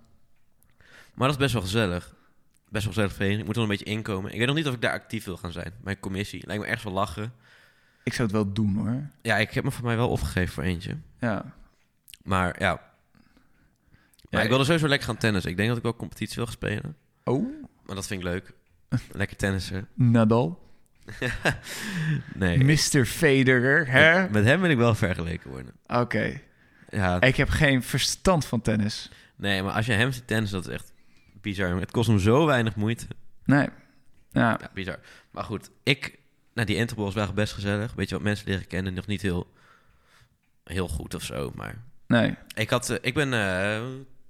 S1: Maar dat is best wel gezellig. Best wel gezellig vereniging. Ik moet er nog een beetje inkomen. Ik weet nog niet of ik daar actief wil gaan zijn. Mijn commissie. Lijkt me ergens wel lachen.
S2: Ik zou het wel doen, hoor.
S1: Ja, ik heb me voor mij wel opgegeven voor eentje.
S2: Ja.
S1: Maar ja. Maar
S2: Ja,
S1: ik wilde sowieso lekker gaan tennissen. Ik denk dat ik wel competitie wil gaan spelen.
S2: Oh,
S1: Maar dat vind ik leuk. lekker tennissen.
S2: Nadal.
S1: Nee.
S2: Mr. Federer, hè?
S1: Met, met hem wil ik wel vergeleken worden.
S2: Oké.
S1: Ja.
S2: Ik heb geen verstand van tennis.
S1: Nee, maar als je hem ziet tennissen, dat is echt bizar. jongen. Het kost hem zo weinig moeite.
S2: Nee. Ja.
S1: Ja, bizar. Maar goed, ik... Nou, die Interpol was wel best gezellig. Weet je wat mensen leren kennen? Nog niet heel, heel goed of zo, maar...
S2: Nee.
S1: Ik, had, eh, ik ben eh,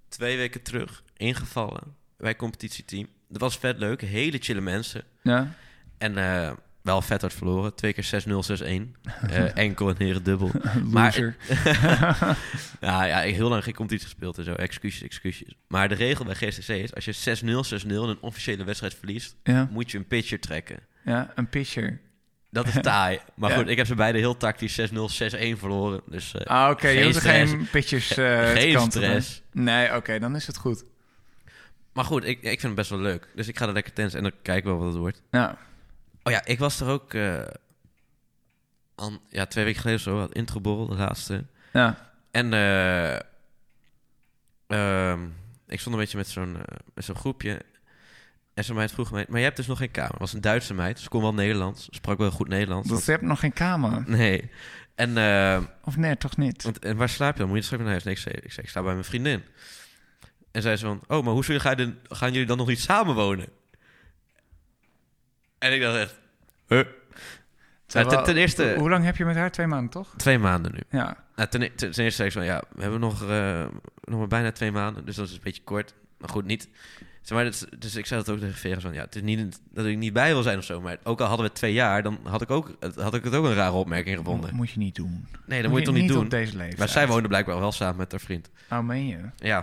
S1: twee weken terug ingevallen bij competitieteam. Dat was vet leuk, hele chille mensen.
S2: Ja.
S1: En eh, wel vet hard verloren. Twee keer 6-0, 6-1. Eh, enkel en heren dubbel.
S2: Loser.
S1: ja, ja, ik- heel lang geen competitie gespeeld en zo. Excuses, excuses. Maar de regel bij GCC is, als je 6-0, 6-0 in een officiële wedstrijd verliest,
S2: Ja.
S1: moet je een pitcher trekken.
S2: ja, een pitcher.
S1: Dat is taai. Maar
S2: Ja.
S1: goed, ik heb ze beide heel tactisch 6-0, 6-1 verloren. Dus eh,
S2: Ah, oké. je
S1: Geen
S2: hoeft er
S1: stress.
S2: geen pitchers eh te
S1: geen
S2: kantelen.
S1: stress.
S2: Nee, oké. dan is het goed.
S1: Maar goed, ik, ik vind het best wel leuk. Dus ik ga er lekker tennis en dan kijken we wel wat het wordt.
S2: Ja.
S1: Oh ja, ik was er ook eh, an- ja, twee weken geleden of zo, had introborrel, de laatste.
S2: Ja.
S1: En eh, ehm, ik stond een beetje met zo'n eh, met zo'n groepje. En zo'n meid vroeg mij, maar je hebt dus nog geen kamer. Het was een Duitse meid, ze kon wel Nederlands, sprak wel goed Nederlands.
S2: Dat heb nog geen kamer.
S1: Nee. En, eh,
S2: Of nee, toch niet?
S1: want, en waar slaap je dan? Moet je straks naar huis? Nee, ik zei, ik zei, ik slaap bij mijn vriendin. En zij zei van, oh, maar hoe zullen, ga je dan- gaan jullie dan nog niet samenwonen? En ik dacht echt, huh? Nou,
S2: Terwijl-
S1: ten- ten eerste-
S2: Hoe- Hoe lang heb je met haar? Twee maanden, toch?
S1: Twee maanden nu.
S2: Ja.
S1: Nou, ten, ten- ten eerste zei ik zo, ja, we hebben nog, eh, nog maar bijna twee maanden. Dus dat is een beetje kort. Maar goed, niet, Zeg maar, dus, dus ik zei dat ook tegen Vegas van, ja, het is niet dat ik niet bij wil zijn of zo, maar ook al hadden we twee jaar, dan had ik, ook, had ik het ook een rare opmerking gevonden.
S2: Moet je niet doen.
S1: Nee, dat moet je toch niet doen.
S2: op deze leeftijd.
S1: Maar zij woonde blijkbaar wel samen met haar vriend.
S2: Oh, meen je?
S1: Ja.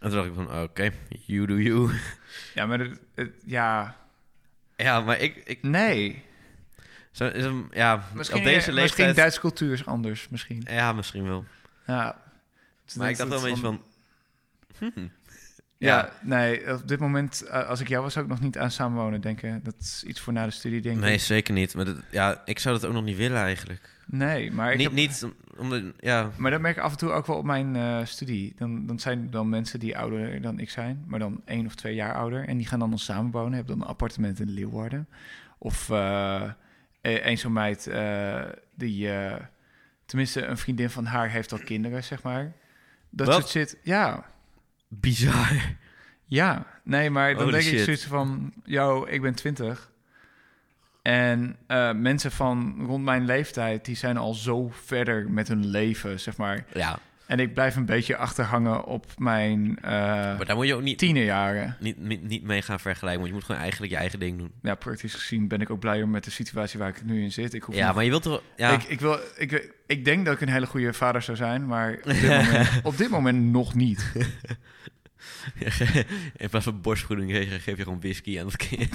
S1: En toen dacht ik van, oké, you do you.
S2: Ja, maar het, het- ja...
S1: Ja, maar ik, ik
S2: Nee.
S1: zo, is hem, ja,
S2: Misschien,
S1: op deze
S2: misschien
S1: leeftijd...
S2: Duitse cultuur is anders, misschien.
S1: ja, misschien wel.
S2: Ja.
S1: Maar ik dacht wel een beetje van,
S2: Ja,
S1: Ja.
S2: nee, op dit moment, eh, als ik jou was, zou ik nog niet aan samenwonen denken. Dat is iets voor na de studie, denk
S1: nee,
S2: ik.
S1: zeker niet. Maar dat- ja, ik zou dat ook nog niet willen eigenlijk.
S2: Nee, maar ik
S1: Niet,
S2: heb-
S1: niet om- omdat, ja,
S2: Maar dat merk ik af en toe ook wel op mijn eh, studie. Dan, dan zijn er dan mensen die ouder dan ik zijn, maar dan één of twee jaar ouder. En die gaan dan nog samenwonen, hebben dan een appartement in Leeuwarden. Of eh een zo'n meid eh, die, eh, tenminste een vriendin van haar heeft al kinderen, zeg maar. Dat
S1: Wat?
S2: soort shit, ja.
S1: bizar.
S2: Ja, nee, maar dan
S1: Holy
S2: denk ik
S1: shit.
S2: zoiets van... Yo, ik ben 20. En eh, mensen van rond mijn leeftijd... die zijn al zo verder met hun leven, zeg maar.
S1: Ja,
S2: En ik blijf een beetje achterhangen op mijn eh,
S1: maar daar moet je ook niet,
S2: tienerjaren.
S1: niet, niet, niet mee gaan vergelijken. Want je moet gewoon eigenlijk je eigen ding doen.
S2: Ja, praktisch gezien ben ik ook blijer met de situatie waar ik nu in zit. Ik, hoef
S1: Ja,
S2: niet-
S1: maar je wilt toch... Ja,
S2: ik, ik, wil, ik, ik denk dat ik een hele goede vader zou zijn, maar op dit moment, op dit moment nog niet.
S1: in plaats van borstvoeding geef geef je gewoon whisky aan het kind.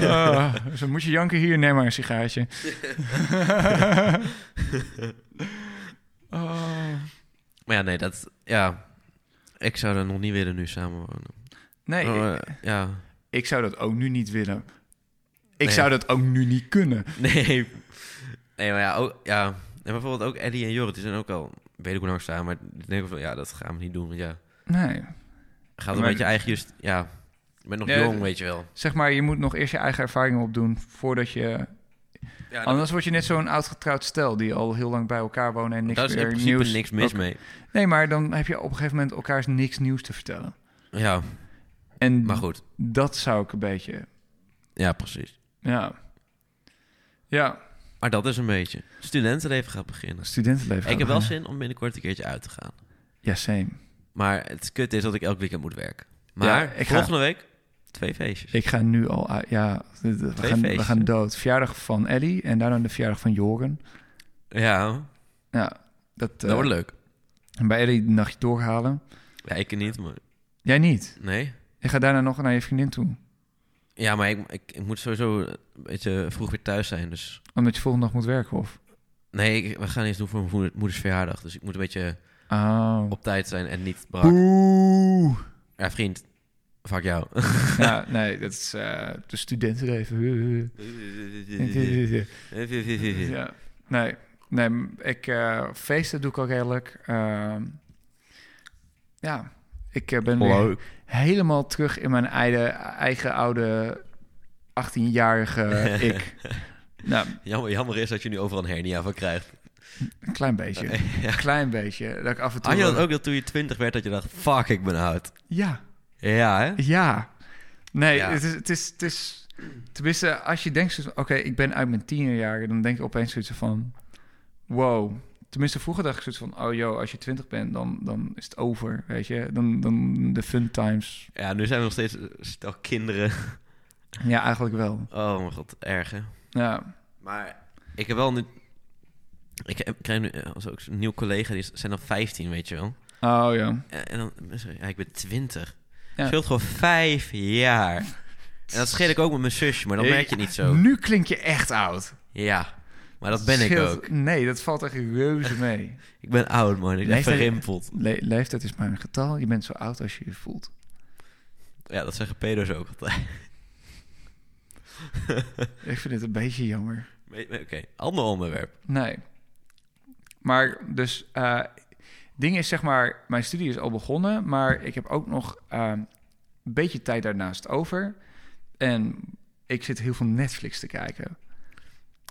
S2: Ah, dus dan moet je janken hier, neem maar een sigaartje. Ah.
S1: Maar ja, nee, dat... Ja, ik zou dat nog niet willen nu samenwonen.
S2: nee,
S1: Oh,
S2: ik,
S1: eh, ja,
S2: ik zou dat ook nu niet willen. Ik
S1: Nee.
S2: zou dat ook nu niet kunnen.
S1: nee. Nee, maar ja, ook, ja. En bijvoorbeeld ook Eddie en Jorrit, die zijn ook al... Weet ik hoe lang staan, maar ik denk ook van... Ja, dat gaan we niet doen, want ja...
S2: Nee.
S1: Gaat
S2: Maar-
S1: een beetje eigen just... Ja, je bent nog
S2: Ja,
S1: jong,
S2: d-
S1: weet je wel.
S2: Zeg maar, je moet nog eerst je eigen ervaringen opdoen voordat je...
S1: Ja, dat,
S2: Anders word je net zo'n oud-getrouwd stel die al heel lang bij elkaar wonen en niks
S1: daar is in
S2: meer
S1: principe
S2: nieuws.
S1: niks mis
S2: ook-
S1: mee.
S2: Nee, maar dan heb je op een gegeven moment elkaars niks nieuws te vertellen.
S1: Ja,
S2: En
S1: maar goed.
S2: dat zou ik een beetje...
S1: Ja, precies.
S2: Ja. Ja,
S1: Maar dat is een beetje. Studentenleven gaat beginnen.
S2: studentenleven.
S1: Ik heb wel
S2: gaan.
S1: zin om binnenkort een keertje uit te gaan.
S2: Ja, same.
S1: Maar het kut is dat ik elk weekend moet werken.
S2: Ja,
S1: Maar
S2: ik ga-
S1: volgende week twee feestjes.
S2: Ik ga nu al uit. Ja, we gaan, we
S1: feesten.
S2: gaan dood. Verjaardag van Ellie en daarna de verjaardag van Joren.
S1: Ja,
S2: Ja, dat, eh,
S1: dat wordt leuk.
S2: en bij Ellie een nachtje doorhalen.
S1: Ja, ik niet, maar...
S2: Jij niet.
S1: Nee?
S2: Je gaat daarna nog naar je vriendin toe.
S1: Ja, maar ik, ik, ik moet sowieso een beetje vroeg weer thuis zijn, dus...
S2: Omdat je volgende dag moet werken, of?
S1: Nee, ik- we gaan iets doen voor mijn moeder- moeders verjaardag. Dus ik moet een beetje
S2: Oh.
S1: op tijd zijn en niet brak.
S2: Boe.
S1: Ja, vriend. Fuck jou.
S2: ja, nee, dat is eh de studentenleven. ja. Nee, nee m- ik, eh, feesten doe ik ook redelijk. Ehm, ja, ik eh, ben weer
S1: Leuk.
S2: helemaal terug in mijn eigen, eigen oude 18-jarige ik. Nou,
S1: Jammer, jammer is dat je nu overal een hernia van krijgt.
S2: een klein beetje. Een klein beetje. Dat ik af en toe...
S1: Had je dat
S2: wel-
S1: ook dat toen je twintig werd, dat je dacht, fuck, ik ben oud?
S2: Ja,
S1: Ja, hè?
S2: ja. Nee,
S1: Ja.
S2: Het, is, het, is, het is... Tenminste, als je denkt, zo- oké, ik ben uit mijn tienerjaren, dan denk ik opeens zoiets van, wow. Tenminste, vroeger dacht ik zoiets van, oh joh, als je twintig bent, dan, dan is het over, weet je. Dan, dan de fun times.
S1: Ja, nu zijn we nog steeds eh, stel kinderen.
S2: Ja, eigenlijk wel.
S1: Oh mijn god, erg hè?
S2: Ja,
S1: Maar ik heb wel nu... Ik heb- ik krijg nu eh, als ook een nieuw collega, die is- zijn dan 15, weet je wel.
S2: oh ja.
S1: Eh, En dan, mensen zeggen, ja, ik ben 20.
S2: Ja.
S1: Scheelt gewoon vijf jaar. En dat scheel ik ook met mijn zusje, maar dan
S2: Hey.
S1: merk je het niet zo.
S2: Nu klink je echt oud.
S1: Ja, maar dat ben ik
S2: Scheelt-
S1: ook.
S2: Nee, dat valt echt reuze mee.
S1: Ik ben oud, man. Ik ben
S2: Leeftijd-
S1: verrimpeld.
S2: Le- leeftijd is maar een getal. Je bent zo oud als je je voelt.
S1: Ja, dat zeggen pedo's ook altijd.
S2: Ik vind het een beetje jammer.
S1: Maar- maar Oké, ander onderwerp.
S2: Nee. Maar dus, eh ding is zeg maar, mijn studie is al begonnen, maar ik heb ook nog eh, een beetje tijd daarnaast over. En ik zit heel veel Netflix te kijken.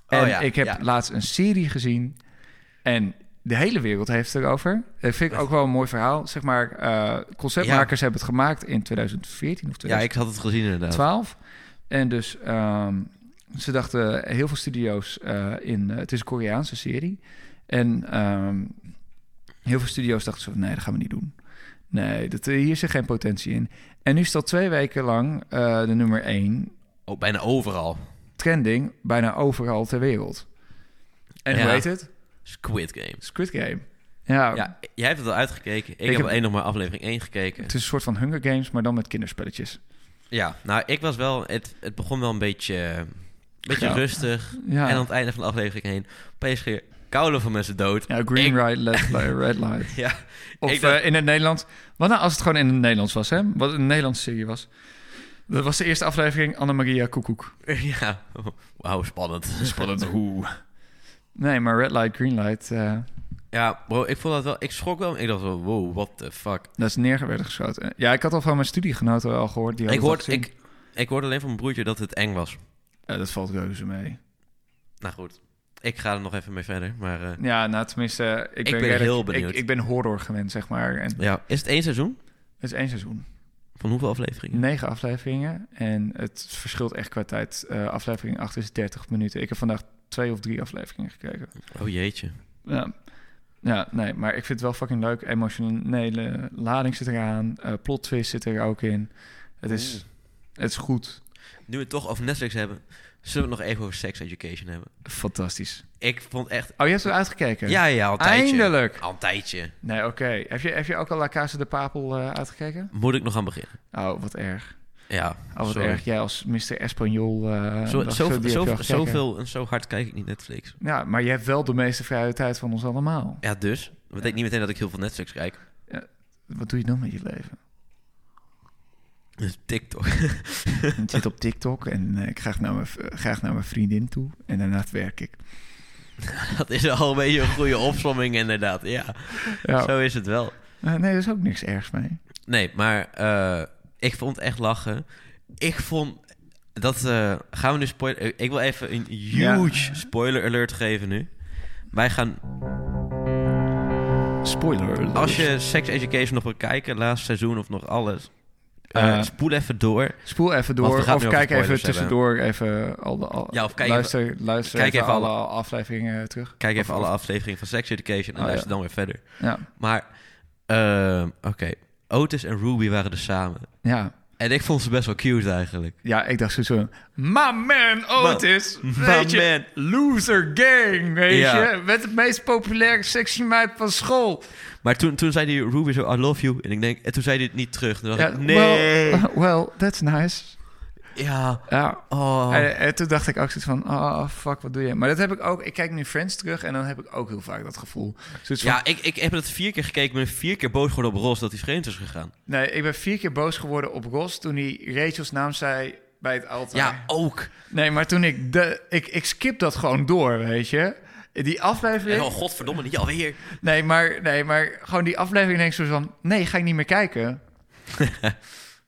S1: Oh
S2: En
S1: ja,
S2: ik heb
S1: ja.
S2: laatst een serie gezien en de hele wereld heeft het erover. Dat vind ik ook wel een mooi verhaal. Zeg maar, eh, conceptmakers hebben het gemaakt in 2014 of 2015.
S1: Ja, ik had het gezien inderdaad.
S2: 12. En dus ehm, ze dachten heel veel studio's eh, in. eh, het is een Koreaanse serie. En ehm, Heel veel studio's dachten zo van, nee, dat gaan we niet doen. Nee, dat, eh, hier zit geen potentie in. En nu is het al twee weken lang eh, de nummer één
S1: Oh, bijna overal.
S2: trending bijna overal ter wereld. En hoe
S1: Ja.
S2: heet het?
S1: Squid Game.
S2: Squid Game. Ja,
S1: Ja, jij hebt het al uitgekeken. Ik, heb
S2: heb-
S1: alleen nog maar aflevering 1 gekeken.
S2: het is een soort van Hunger Games, maar dan met kinderspelletjes.
S1: Ja, nou, ik was wel... Het, het begon wel een beetje, eh, een beetje
S2: Ja.
S1: rustig.
S2: Ja,
S1: En aan het einde van de aflevering heen... opeens ging koude van mensen dood.
S2: ja green
S1: Ik-
S2: light, left light, red light.
S1: Ja,
S2: Of
S1: Ik dacht-
S2: eh, in het Nederlands. Wat nou als het gewoon in het Nederlands was, hè? Wat een Nederlandse serie was. Dat was de eerste aflevering Annemaria Koekoek.
S1: ja. Wauw, spannend.
S2: Spannend hoe. Nee, maar red light, green light, eh,
S1: Ja, bro, ik vond dat wel... Ik schrok wel. Ik dacht wel, wow, what the fuck.
S2: dat is neer werden geschoten. Ja, ik had al van mijn studiegenoten al gehoord. Die
S1: Ik
S2: hadden dat
S1: hoorde,
S2: gezien.
S1: ik, ik hoorde alleen van mijn broertje dat het eng was.
S2: Eh, dat valt reuze mee.
S1: Nou goed, ik ga er nog even mee verder. Maar eh,
S2: Ja, nou tenminste, eh, ik,
S1: ben
S2: redelijk-
S1: heel benieuwd.
S2: Ik, ik ben horror gewend, zeg maar. En
S1: ja, is het één seizoen?
S2: het is één seizoen.
S1: Van hoeveel afleveringen?
S2: Negen afleveringen. En het verschilt echt qua tijd. Eh, aflevering 8 is 30 minuten. Ik heb vandaag twee of drie afleveringen gekeken.
S1: Oh jeetje.
S2: Ja. ja, nee, maar ik vind het wel fucking leuk. Emotionele lading zit eraan. eh plot twist zit er ook in. Het is,
S1: Mm.
S2: het is goed.
S1: Nu we het toch over Netflix hebben, zullen we het nog even over Sex Education hebben.
S2: Fantastisch.
S1: Ik vond echt...
S2: Oh, je hebt er uitgekeken?
S1: Ja, ja, al een tijdje.
S2: Eindelijk.
S1: Al een tijdje.
S2: Nee, oké. Heb, je, heb je ook al La Casa de Papel eh, uitgekeken?
S1: Moet ik nog aan beginnen?
S2: Oh, wat erg.
S1: Ja,
S2: Oh, wat
S1: sorry.
S2: erg. Jij als Mr. Espanol. eh
S1: Zo,
S2: dacht,
S1: zo,
S2: die heb je
S1: zo,
S2: al gekeken.
S1: zoveel en zo hard kijk ik niet Netflix.
S2: Ja, maar je hebt wel de meeste vrije tijd van ons allemaal.
S1: Ja, dus. Dat betekent niet meteen dat ik heel veel Netflix kijk.
S2: Wat doe je dan met je leven?
S1: Dus TikTok.
S2: ik zit op TikTok en eh, ik ga graag naar, mijn, v- graag naar mijn vriendin toe. En daarna werk ik.
S1: Dat is al een beetje een goede opsomming inderdaad. Ja,
S2: Ja.
S1: zo is het wel.
S2: Eh, nee, er is ook niks ergs mee.
S1: Nee, maar eh, ik vond echt lachen. Ik vond dat eh, gaan we nu spoiler. Ik wil even een huge spoiler alert geven nu. Wij gaan,
S2: Spoiler alert.
S1: als je Sex Education nog wil kijken, laatste seizoen of nog alles, eh,
S2: Eh,
S1: spoel even door.
S2: Spoel even
S1: Want
S2: door
S1: we gaan
S2: of
S1: het nu
S2: kijk
S1: over
S2: even
S1: spoilers
S2: tussendoor even al de... al-
S1: Ja, of kijk
S2: luister, luister
S1: kijk
S2: even,
S1: even
S2: alle afleveringen terug.
S1: Kijk
S2: Of-
S1: even alle
S2: of-
S1: afleveringen van Sex Education en
S2: Oh,
S1: luister
S2: ja.
S1: dan weer verder.
S2: Ja,
S1: Maar, eh, oké. Otis en Ruby waren er samen.
S2: ja.
S1: En ik vond ze best wel cute eigenlijk.
S2: ja, ik dacht zo My man Otis,
S1: Ma-
S2: weet
S1: my
S2: je, loser gang, weet
S1: Ja.
S2: je. Met de meest populaire sexy meid van school.
S1: Maar toen, toen zei die Ruby zo, I love you. En ik denk, en toen zei hij het niet terug. En toen dacht
S2: Ja,
S1: ik, Oh, nee.
S2: Well, uh, well, that's nice.
S1: Ja.
S2: Ja,
S1: Oh.
S2: En, en toen dacht ik ook zoiets van, oh fuck, wat doe je? Maar dat heb ik ook, ik kijk nu Friends terug en dan heb ik ook heel vaak dat gevoel. Zoiets van,
S1: Ja, ik, ik heb het vier keer gekeken. Ik ben vier keer boos geworden op Ross dat hij vreemd is gegaan.
S2: Nee, ik ben vier keer boos geworden op Ross toen hij Rachel's naam zei bij het altaar.
S1: Ja, ook.
S2: Nee, maar toen ik, de, ik... Ik skip dat gewoon door, weet je. Die
S1: En,
S2: aflevering...
S1: oh, godverdomme, niet alweer.
S2: Nee, maar, nee, maar gewoon die aflevering denk ik zo van... Nee, ga ik niet meer kijken.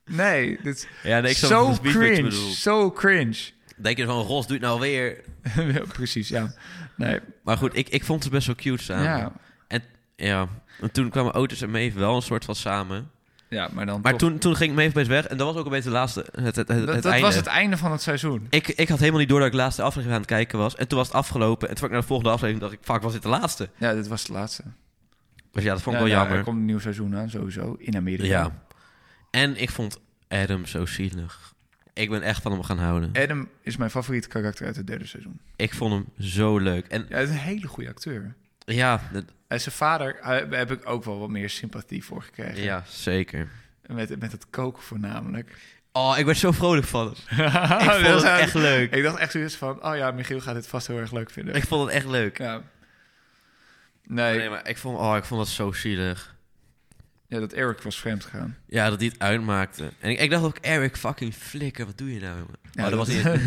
S2: nee, dit is
S1: Ja, nee, ik snap
S2: zo
S1: precies wat je
S2: cringe.
S1: bedoelt.
S2: Zo cringe.
S1: Denk je van, Ross doet nou weer.
S2: Ja, Precies, ja. Nee,
S1: Maar goed, ik, ik vond ze best wel cute samen.
S2: ja.
S1: En, ja. en toen kwamen Otis en Maeve wel een soort van samen.
S2: ja, maar dan
S1: Maar
S2: toch-
S1: toen, toen ging Maeve opeens weg. En dat was ook een beetje de laatste, het, het, het,
S2: dat
S1: het
S2: dat
S1: einde.
S2: was het einde van het seizoen.
S1: Ik, ik had helemaal niet door dat ik de laatste aflevering aan het kijken was. En toen was het afgelopen. En toen was ik naar de volgende aflevering dacht ik, fuck, was dit de laatste?
S2: Ja, dit was de laatste.
S1: Dus ja, dat vond ik
S2: Ja,
S1: wel
S2: ja,
S1: jammer.
S2: Er komt een nieuw seizoen aan, sowieso, in Amerika.
S1: Ja. En ik vond Adam zo zielig. Ik ben echt van hem gaan houden.
S2: Adam is mijn favoriete karakter uit het derde seizoen.
S1: Ik vond hem zo leuk. En
S2: Ja, hij is een hele goede acteur.
S1: ja, dat-
S2: En zijn vader eh, daar heb ik ook wel wat meer sympathie voor gekregen.
S1: ja zeker.
S2: Met, met het koken voornamelijk.
S1: Oh, ik werd zo vrolijk van hem.
S2: ik
S1: Ik vond het echt leuk.
S2: Ik dacht echt zoiets van, oh ja, Michiel gaat dit vast heel erg leuk vinden.
S1: Ik vond het echt leuk.
S2: Ja. Nee,
S1: Nee, maar ik vond, oh, ik vond dat zo zielig.
S2: ja, dat Eric was vreemd gegaan.
S1: Ja, dat die het uitmaakte. En ik, ik dacht ook, Eric, fucking flikker, wat doe je nou, jongen?
S2: Ja,
S1: oh, dat
S2: dat-
S1: was niet,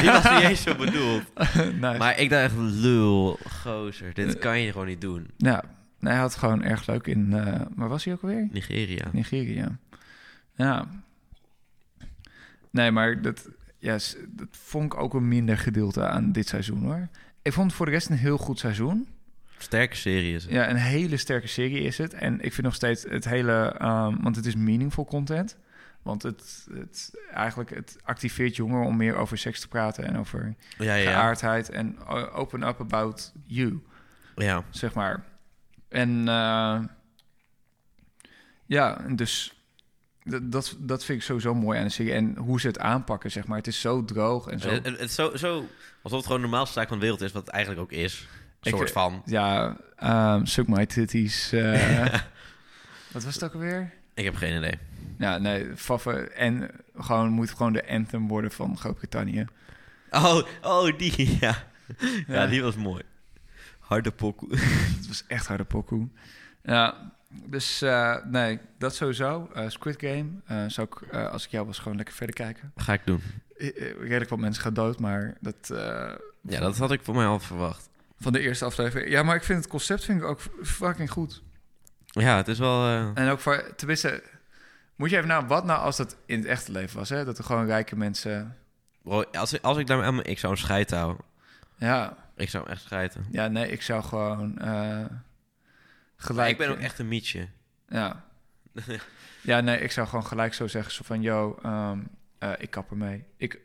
S1: die was niet eens zo bedoeld.
S2: nice.
S1: Maar ik dacht echt, lul, gozer, dit kan je gewoon niet doen.
S2: Ja, nee, hij had gewoon erg leuk in... eh, waar was hij ook alweer?
S1: Nigeria.
S2: Nigeria. Ja. Nee, maar dat, ja, s- dat vond ik ook een minder gedeelte aan dit seizoen hoor. Ik vond het voor de rest een heel goed seizoen.
S1: Sterke serie is het.
S2: Ja, een hele sterke serie is het. En ik vind nog steeds het hele... ehm, want het is meaningful content. Want het, het, eigenlijk, het activeert jongeren om meer over seks te praten... en over
S1: Ja, ja, ja.
S2: geaardheid en o- open up about you,
S1: ja.
S2: zeg maar. En eh, ja, en dus d- dat, dat vind ik sowieso mooi aan de serie. En hoe ze het aanpakken, zeg maar. Het is zo droog en zo.
S1: Het, het, het is zo, zo, alsof het gewoon de normaalste zaak van de wereld is, wat het eigenlijk ook is. Een
S2: Ik- eh,
S1: soort van.
S2: Ja, ehm Suck My Titties. eh, wat was het ook alweer?
S1: Ik heb geen idee.
S2: Nou, nee, Faffe. En gewoon moet gewoon de anthem worden van Groot-Brittannië.
S1: Oh, oh die, ja. ja.
S2: Ja.
S1: die was mooi. Harde pokoe.
S2: Het was echt harde pokoe. Ja, dus eh, nee, dat sowieso. Eh, Squid Game eh, zou ik, eh, als ik jou was, gewoon lekker verder kijken.
S1: Ga ik doen.
S2: Eh, eh, Redelijk wat mensen gaan dood, maar dat... eh,
S1: Ja, dat had ik voor mij al verwacht.
S2: Van de eerste aflevering. Ja, maar ik vind het concept vind ik ook fucking goed.
S1: Ja, het is wel... eh,
S2: En ook voor, tenminste, moet je even naar wat nou als dat in het echte leven was, hè? Dat er gewoon rijke mensen.
S1: bro, als, ik- als ik daar aan mijn... Ik zou hem scheid houden.
S2: Ja,
S1: Ik zou hem echt scheiden.
S2: ja, nee, ik zou gewoon eh
S1: Maar
S2: gelijk. eh.
S1: ik ben ook echt een mietje.
S2: Ja. ja, nee, ik zou gewoon gelijk zo zeggen, zo van, yo, ehm, eh, ik kap ermee. Ik,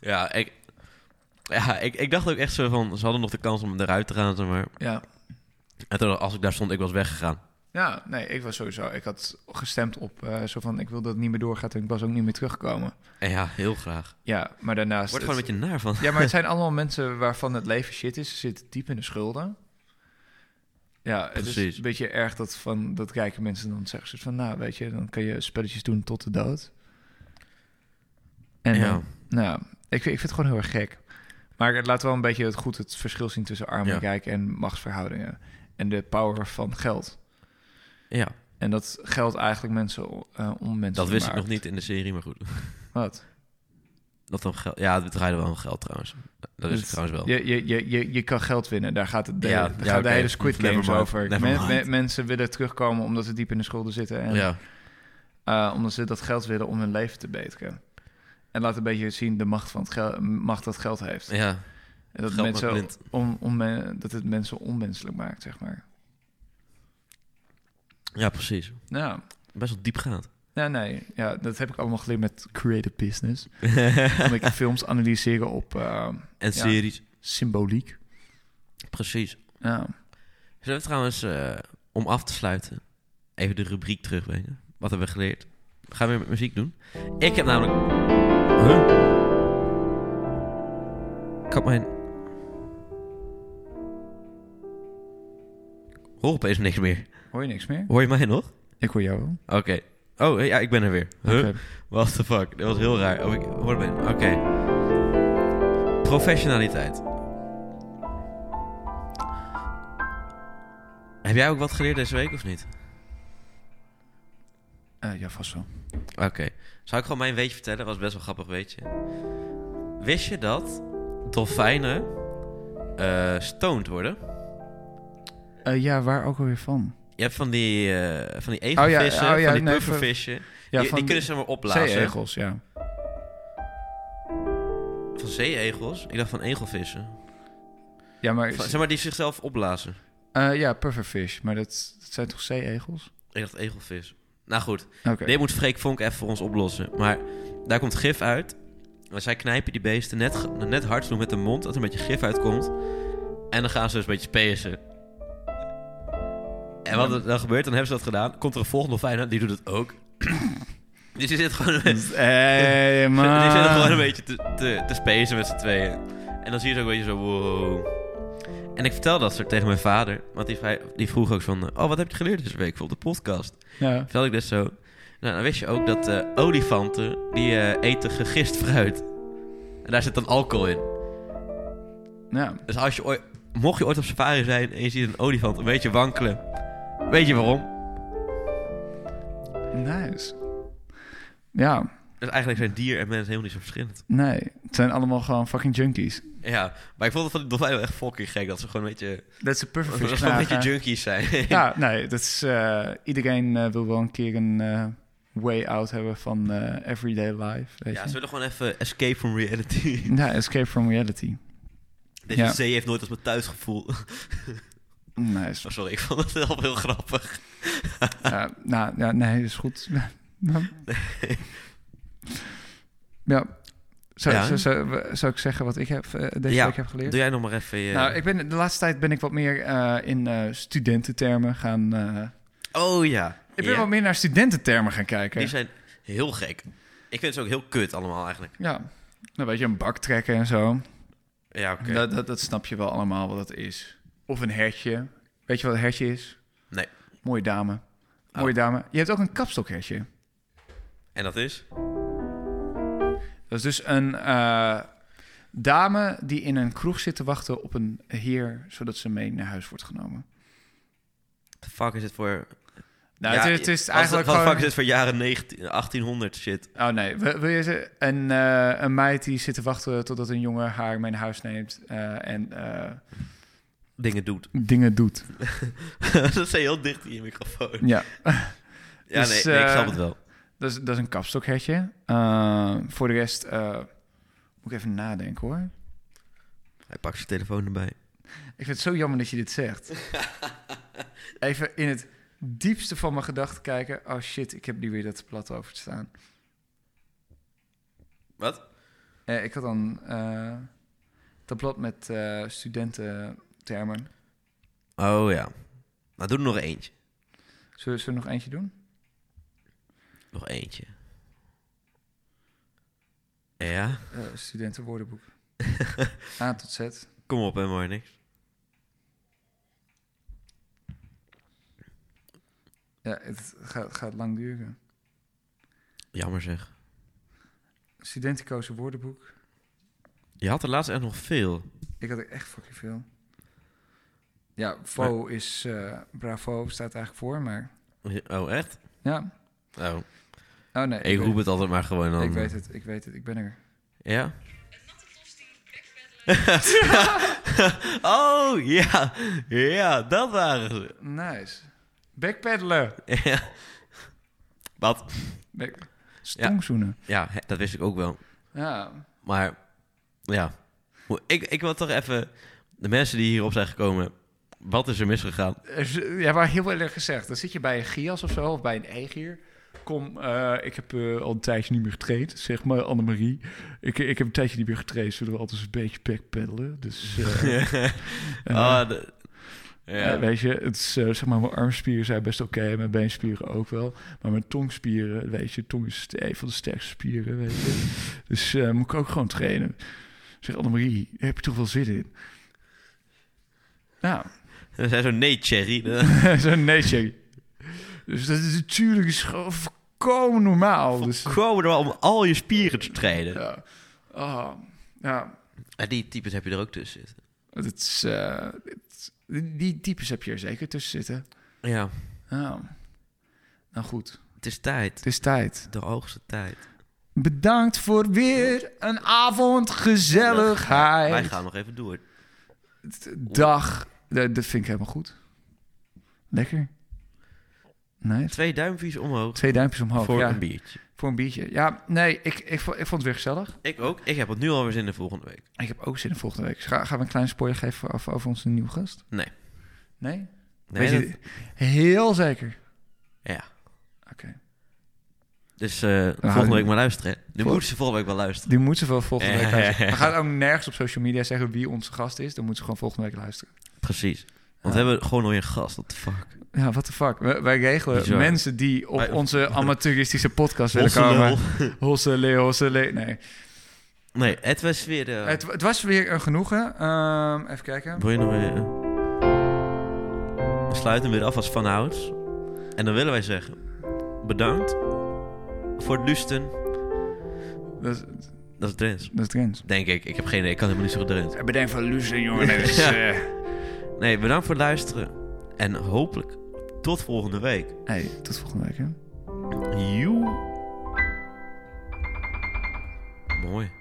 S1: Ja, ik... Ja, ik, ik dacht ook echt zo van... Ze hadden nog de kans om eruit te gaan, zeg maar.
S2: ja.
S1: En toen, als ik daar stond, ik was weggegaan.
S2: Ja, nee, ik was sowieso. Ik had gestemd op eh, zo van, ik wil dat het niet meer doorgaat en ik was ook niet meer teruggekomen.
S1: En ja, heel graag.
S2: Ja, maar daarnaast.
S1: Ik word er gewoon
S2: het-
S1: een beetje naar van.
S2: Ja, maar het zijn allemaal mensen waarvan het leven shit is. Ze zitten diep in de schulden. Ja, het
S1: Precies.
S2: is een beetje erg dat, van, dat rijke mensen dan zeggen ze van... nou, weet je, dan kan je spelletjes doen tot de dood. En
S1: Ja.
S2: dan- nou, ik, vind- ik vind het gewoon heel erg gek. Maar het laat wel een beetje het goed het verschil zien tussen arm
S1: Ja.
S2: en rijk en machtsverhoudingen. En de power van geld.
S1: Ja,
S2: En dat geld eigenlijk mensen eh om mensen
S1: dat wist ik
S2: maakt.
S1: nog niet in de serie, maar goed.
S2: Wat?
S1: Dat dan geld... Ja, het draaide wel om geld trouwens. Dat is
S2: Dus
S1: het trouwens wel.
S2: Je, je, je, je, je kan geld winnen, daar gaat het de,
S1: Oh. Ja,
S2: daar
S1: ja,
S2: gaat de
S1: oké.
S2: hele Squid
S1: Never
S2: Games
S1: mind.
S2: over.
S1: Never
S2: Men-
S1: mind.
S2: men- mensen willen terugkomen omdat ze diep in de schulden zitten en
S1: Ja.
S2: eh, omdat ze dat geld willen om hun leven te beteren. En laat een beetje zien de macht, van het gel- macht dat geld heeft.
S1: Ja,
S2: en dat,
S1: geld maakt
S2: mensen
S1: blind.
S2: om, om, dat het mensen onmenselijk maakt, zeg maar.
S1: ja, precies.
S2: Nou,
S1: Best wel diepgaand.
S2: nou nee, ja, dat heb ik allemaal geleerd met creative business. Omdat ik films analyseren op eh,
S1: en
S2: Ja.
S1: series.
S2: symboliek.
S1: Precies.
S2: Ja.
S1: Zullen we trouwens, eh, om af te sluiten, even de rubriek terugbrengen? Wat hebben we geleerd? We gaan weer met muziek doen. Ik heb namelijk... Huh? Ik had mijn... Hoor opeens niks meer.
S2: Hoor je niks meer?
S1: Hoor je mij nog?
S2: Ik hoor jou wel.
S1: Oké. Oh, ja, ik ben er weer. Huh?
S2: Oké.
S1: What the fuck? Dat was heel raar. Oh, ik hoor mij. Oké. Professionaliteit. Heb jij ook wat geleerd deze week of niet?
S2: Eh, ja, vast wel.
S1: Oké. Zou ik gewoon mijn weetje vertellen? was best wel grappig weetje. Wist je dat dolfijnen eh stoned worden?
S2: Eh, ja, waar ook alweer van?
S1: Je hebt van die, eh, van die
S2: ja,
S1: egelvissen,
S2: oh ja,
S1: van die
S2: nee,
S1: puffervisje.
S2: Ja,
S1: die,
S2: van
S1: die kunnen ze maar opblazen.
S2: Zeeegels, ja.
S1: Van zeeegels? Ik dacht van egelvissen.
S2: Ja, maar,
S1: Van- zeg maar, die zichzelf opblazen.
S2: eh, ja, pufferfish. Maar dat, dat zijn toch zeeegels?
S1: Ik dacht egelvis. Nou goed,
S2: Oké.
S1: dit moet Freek Vonk even voor ons oplossen. Maar daar komt gif uit. En zij knijpen die beesten net, ge- net hard genoeg met de mond, dat er een beetje gif uitkomt. En dan gaan ze dus een beetje spacen. En wat er dan gebeurt, dan hebben ze dat gedaan. Komt er een volgende dolfijn aan, die doet het ook. dus die zit gewoon, die
S2: Hey,
S1: zit
S2: man.
S1: gewoon een beetje te, te, te spacen met z'n tweeën. En dan zie je ze ook een beetje zo, wow. En ik vertel dat soort tegen mijn vader. Want die, vrij- die vroeg ook van, oh, wat heb je geleerd deze week voor op de podcast?
S2: Ja.
S1: Vertel ik dit zo. Nou, dan wist je ook dat eh, olifanten, die eh, eten gegist fruit. En daar zit dan alcohol in.
S2: ja.
S1: Dus als je ooit, mocht je ooit op safari zijn en je ziet een olifant een beetje wankelen, weet je waarom?
S2: Nice. Ja,
S1: Dus eigenlijk zijn dier en mens helemaal niet zo verschillend.
S2: nee. Het zijn allemaal gewoon fucking junkies.
S1: Ja, maar ik vond het van die dolfijnen wel echt fucking gek dat ze gewoon een beetje,
S2: Dat is een
S1: dat ze
S2: pufferfish.
S1: gewoon een
S2: knagen.
S1: beetje junkies zijn.
S2: Ja, nee. Dat is, eh, iedereen eh, wil wel een keer een eh, way out hebben van eh, everyday life. Weet
S1: Ja,
S2: je?
S1: ze willen gewoon even escape from reality.
S2: Ja, escape from reality.
S1: Deze
S2: Ja.
S1: zee heeft nooit als mijn thuisgevoel.
S2: Nice.
S1: Oh, sorry, ik vond het wel heel grappig.
S2: Ja, nou, ja, nee, is goed. Ja. ja. Zou,
S1: Ja.
S2: zou, zou, zou ik zeggen wat ik heb, eh, deze
S1: Ja.
S2: week heb geleerd?
S1: Doe jij nog maar even je...
S2: Nou, ik ben, de laatste tijd ben ik wat meer eh, in eh, studententermen gaan... eh,
S1: Oh ja.
S2: ik ben
S1: Ja.
S2: wat meer naar studententermen gaan kijken.
S1: Die zijn heel gek. Ik vind ze ook heel kut allemaal eigenlijk.
S2: Ja, nou weet je, een bak trekken en zo.
S1: Ja, oké.
S2: Dat, dat, dat snap je wel allemaal wat dat is. Of een hertje. Weet je wat een hertje is?
S1: Nee. Oh.
S2: Mooie dame. Mooie dame. Je hebt ook een kapstokhertje.
S1: En dat is?
S2: Dat is dus een eh, dame die in een kroeg zit te wachten op een heer... zodat ze mee naar huis wordt genomen.
S1: The fuck is het voor...
S2: Nou,
S1: Ja,
S2: het, is- het is
S1: als-
S2: eigenlijk
S1: Wat
S2: gewoon...
S1: fuck is het voor jaren 19, 1800 shit?
S2: Oh nee, wil, wil je ze... Een, eh, een meid die zit te wachten totdat een jongen haar mee naar huis neemt... eh, en eh,
S1: Dingen doet.
S2: dingen doet.
S1: dat zijn heel dicht in je microfoon.
S2: Ja.
S1: Ja,
S2: Dus,
S1: nee, nee, ik
S2: eh,
S1: snap het wel.
S2: Dat is, dat is een kapstokhertje. Eh, voor de rest eh, moet ik even nadenken hoor.
S1: Hij pakt zijn telefoon erbij.
S2: Ik vind het zo jammer dat je dit zegt. Even in het diepste van mijn gedachten kijken. Oh shit, ik heb nu weer dat plat over te staan.
S1: Wat?
S2: Eh, ik had dan eh, dat blad met eh, studententermen.
S1: Oh ja. Nou, doe er nog eentje.
S2: Zullen, we- zullen we nog eentje doen?
S1: Nog eentje. Ja?
S2: Eh, studentenwoordenboek. A tot Z.
S1: Kom op, hè, maar niks.
S2: Ja, het gaat, gaat lang duren.
S1: Jammer zeg.
S2: Studenticozen woordenboek.
S1: Je had er laatst echt nog veel.
S2: Ik had er echt fucking veel. Ja, faux is eh, bravo staat eigenlijk voor, maar
S1: Oh, echt?
S2: ja.
S1: Oh.
S2: Oh nee,
S1: Ik
S2: weet-
S1: roep het altijd maar gewoon dan. eh.
S2: Ik weet het, ik weet het, ik ben er.
S1: Ja? oh, ja. Ja, dat waren ze.
S2: Nice. Backpedalen.
S1: Ja. Wat?
S2: Back... Stongzoenen.
S1: Ja, hè, dat wist ik ook wel.
S2: Ja.
S1: Maar, ja. Hoe- Ik, ik wil toch even... De mensen die hierop zijn gekomen... Wat is er misgegaan?
S2: Er is- Ja, maar heel eerlijk gezegd, dan zit je bij een Gias of zo, of bij een Egier. Kom, eh, ik heb eh, al een tijdje niet meer getraind, zeg maar, Annemarie. Ik, ik heb een tijdje niet meer getraind, zullen we altijd eens een beetje backpedalen?
S1: Oh,
S2: Dus, eh, eh,
S1: Ah, de- ja.
S2: Eh, weet je, het is, eh, zeg maar, mijn armspieren zijn best oké, mijn beenspieren ook wel. Maar mijn tongspieren, weet je, tong is een van de sterkste spieren, weet je. Dus eh, moet ik ook gewoon trainen. Zeg Annemarie, daar heb je toch wel zin in? Nou,
S1: We zijn zo, nee, Thierry.
S2: zo'n netje. Dus dat is natuurlijk is gewoon volkomen normaal. Dus,
S1: Gewoon om al je spieren te trainen.
S2: ja. Oh, ja,
S1: En die types heb je er ook tussen zitten.
S2: het is, eh, het- die types heb je er zeker tussen zitten.
S1: Ja,
S2: Nou, nou goed,
S1: het is tijd.
S2: het is tijd.
S1: De hoogste tijd.
S2: Bedankt voor weer een avond gezelligheid.
S1: Wij gaan nog even door.
S2: Dag. Dat dat vind ik helemaal goed. Lekker. Nice.
S1: Twee duimpjes omhoog
S2: Twee duimpjes omhoog.
S1: voor
S2: Oh, ja.
S1: een biertje.
S2: voor een biertje. Ja, nee, ik, ik, vo- ik vond het weer gezellig.
S1: Ik ook. Ik heb het nu alweer zin in volgende week.
S2: Ik heb ook zin in volgende week. Ga, gaan we een kleine spoiler geven voor- over, over onze nieuwe gast?
S1: Nee.
S2: Nee?
S1: Nee,
S2: Weet je, heel zeker.
S1: dat- ja.
S2: Oké.
S1: Dus eh, volgende week maar luisteren. hè. Nu
S2: Vol-
S1: moeten ze volgende week wel luisteren.
S2: Die moeten ze wel volgende week luisteren. We gaan ook nergens op social media zeggen wie onze gast is. Dan moeten ze gewoon volgende week luisteren.
S1: Precies. Want
S2: Ja.
S1: we hebben gewoon weer een gast. What the fuck?
S2: Ja, what the fuck. Wij, wij regelen
S1: Bizar.
S2: mensen die op
S1: Wij-
S2: onze amateuristische podcast willen
S1: Hosse lul.
S2: komen. Hossele, hossele. Nee.
S1: Nee, het was weer... eh,
S2: Het, het was weer een genoegen. Ehm, even kijken.
S1: Wil je nog weer... eh? We sluiten hem weer af als vanouds. En dan willen wij zeggen... Bedankt voor het luisteren.
S2: Dat is,
S1: Dat is Drents.
S2: dat is Drents.
S1: Denk ik. Ik heb geen idee. Ik kan helemaal niet zo goed Drents.
S2: Bedankt voor Luce, jongen. eh,
S1: Ja. Nee, bedankt voor het luisteren. En hopelijk tot volgende week.
S2: Hey, tot volgende week, hè.
S1: Joe. Mooi.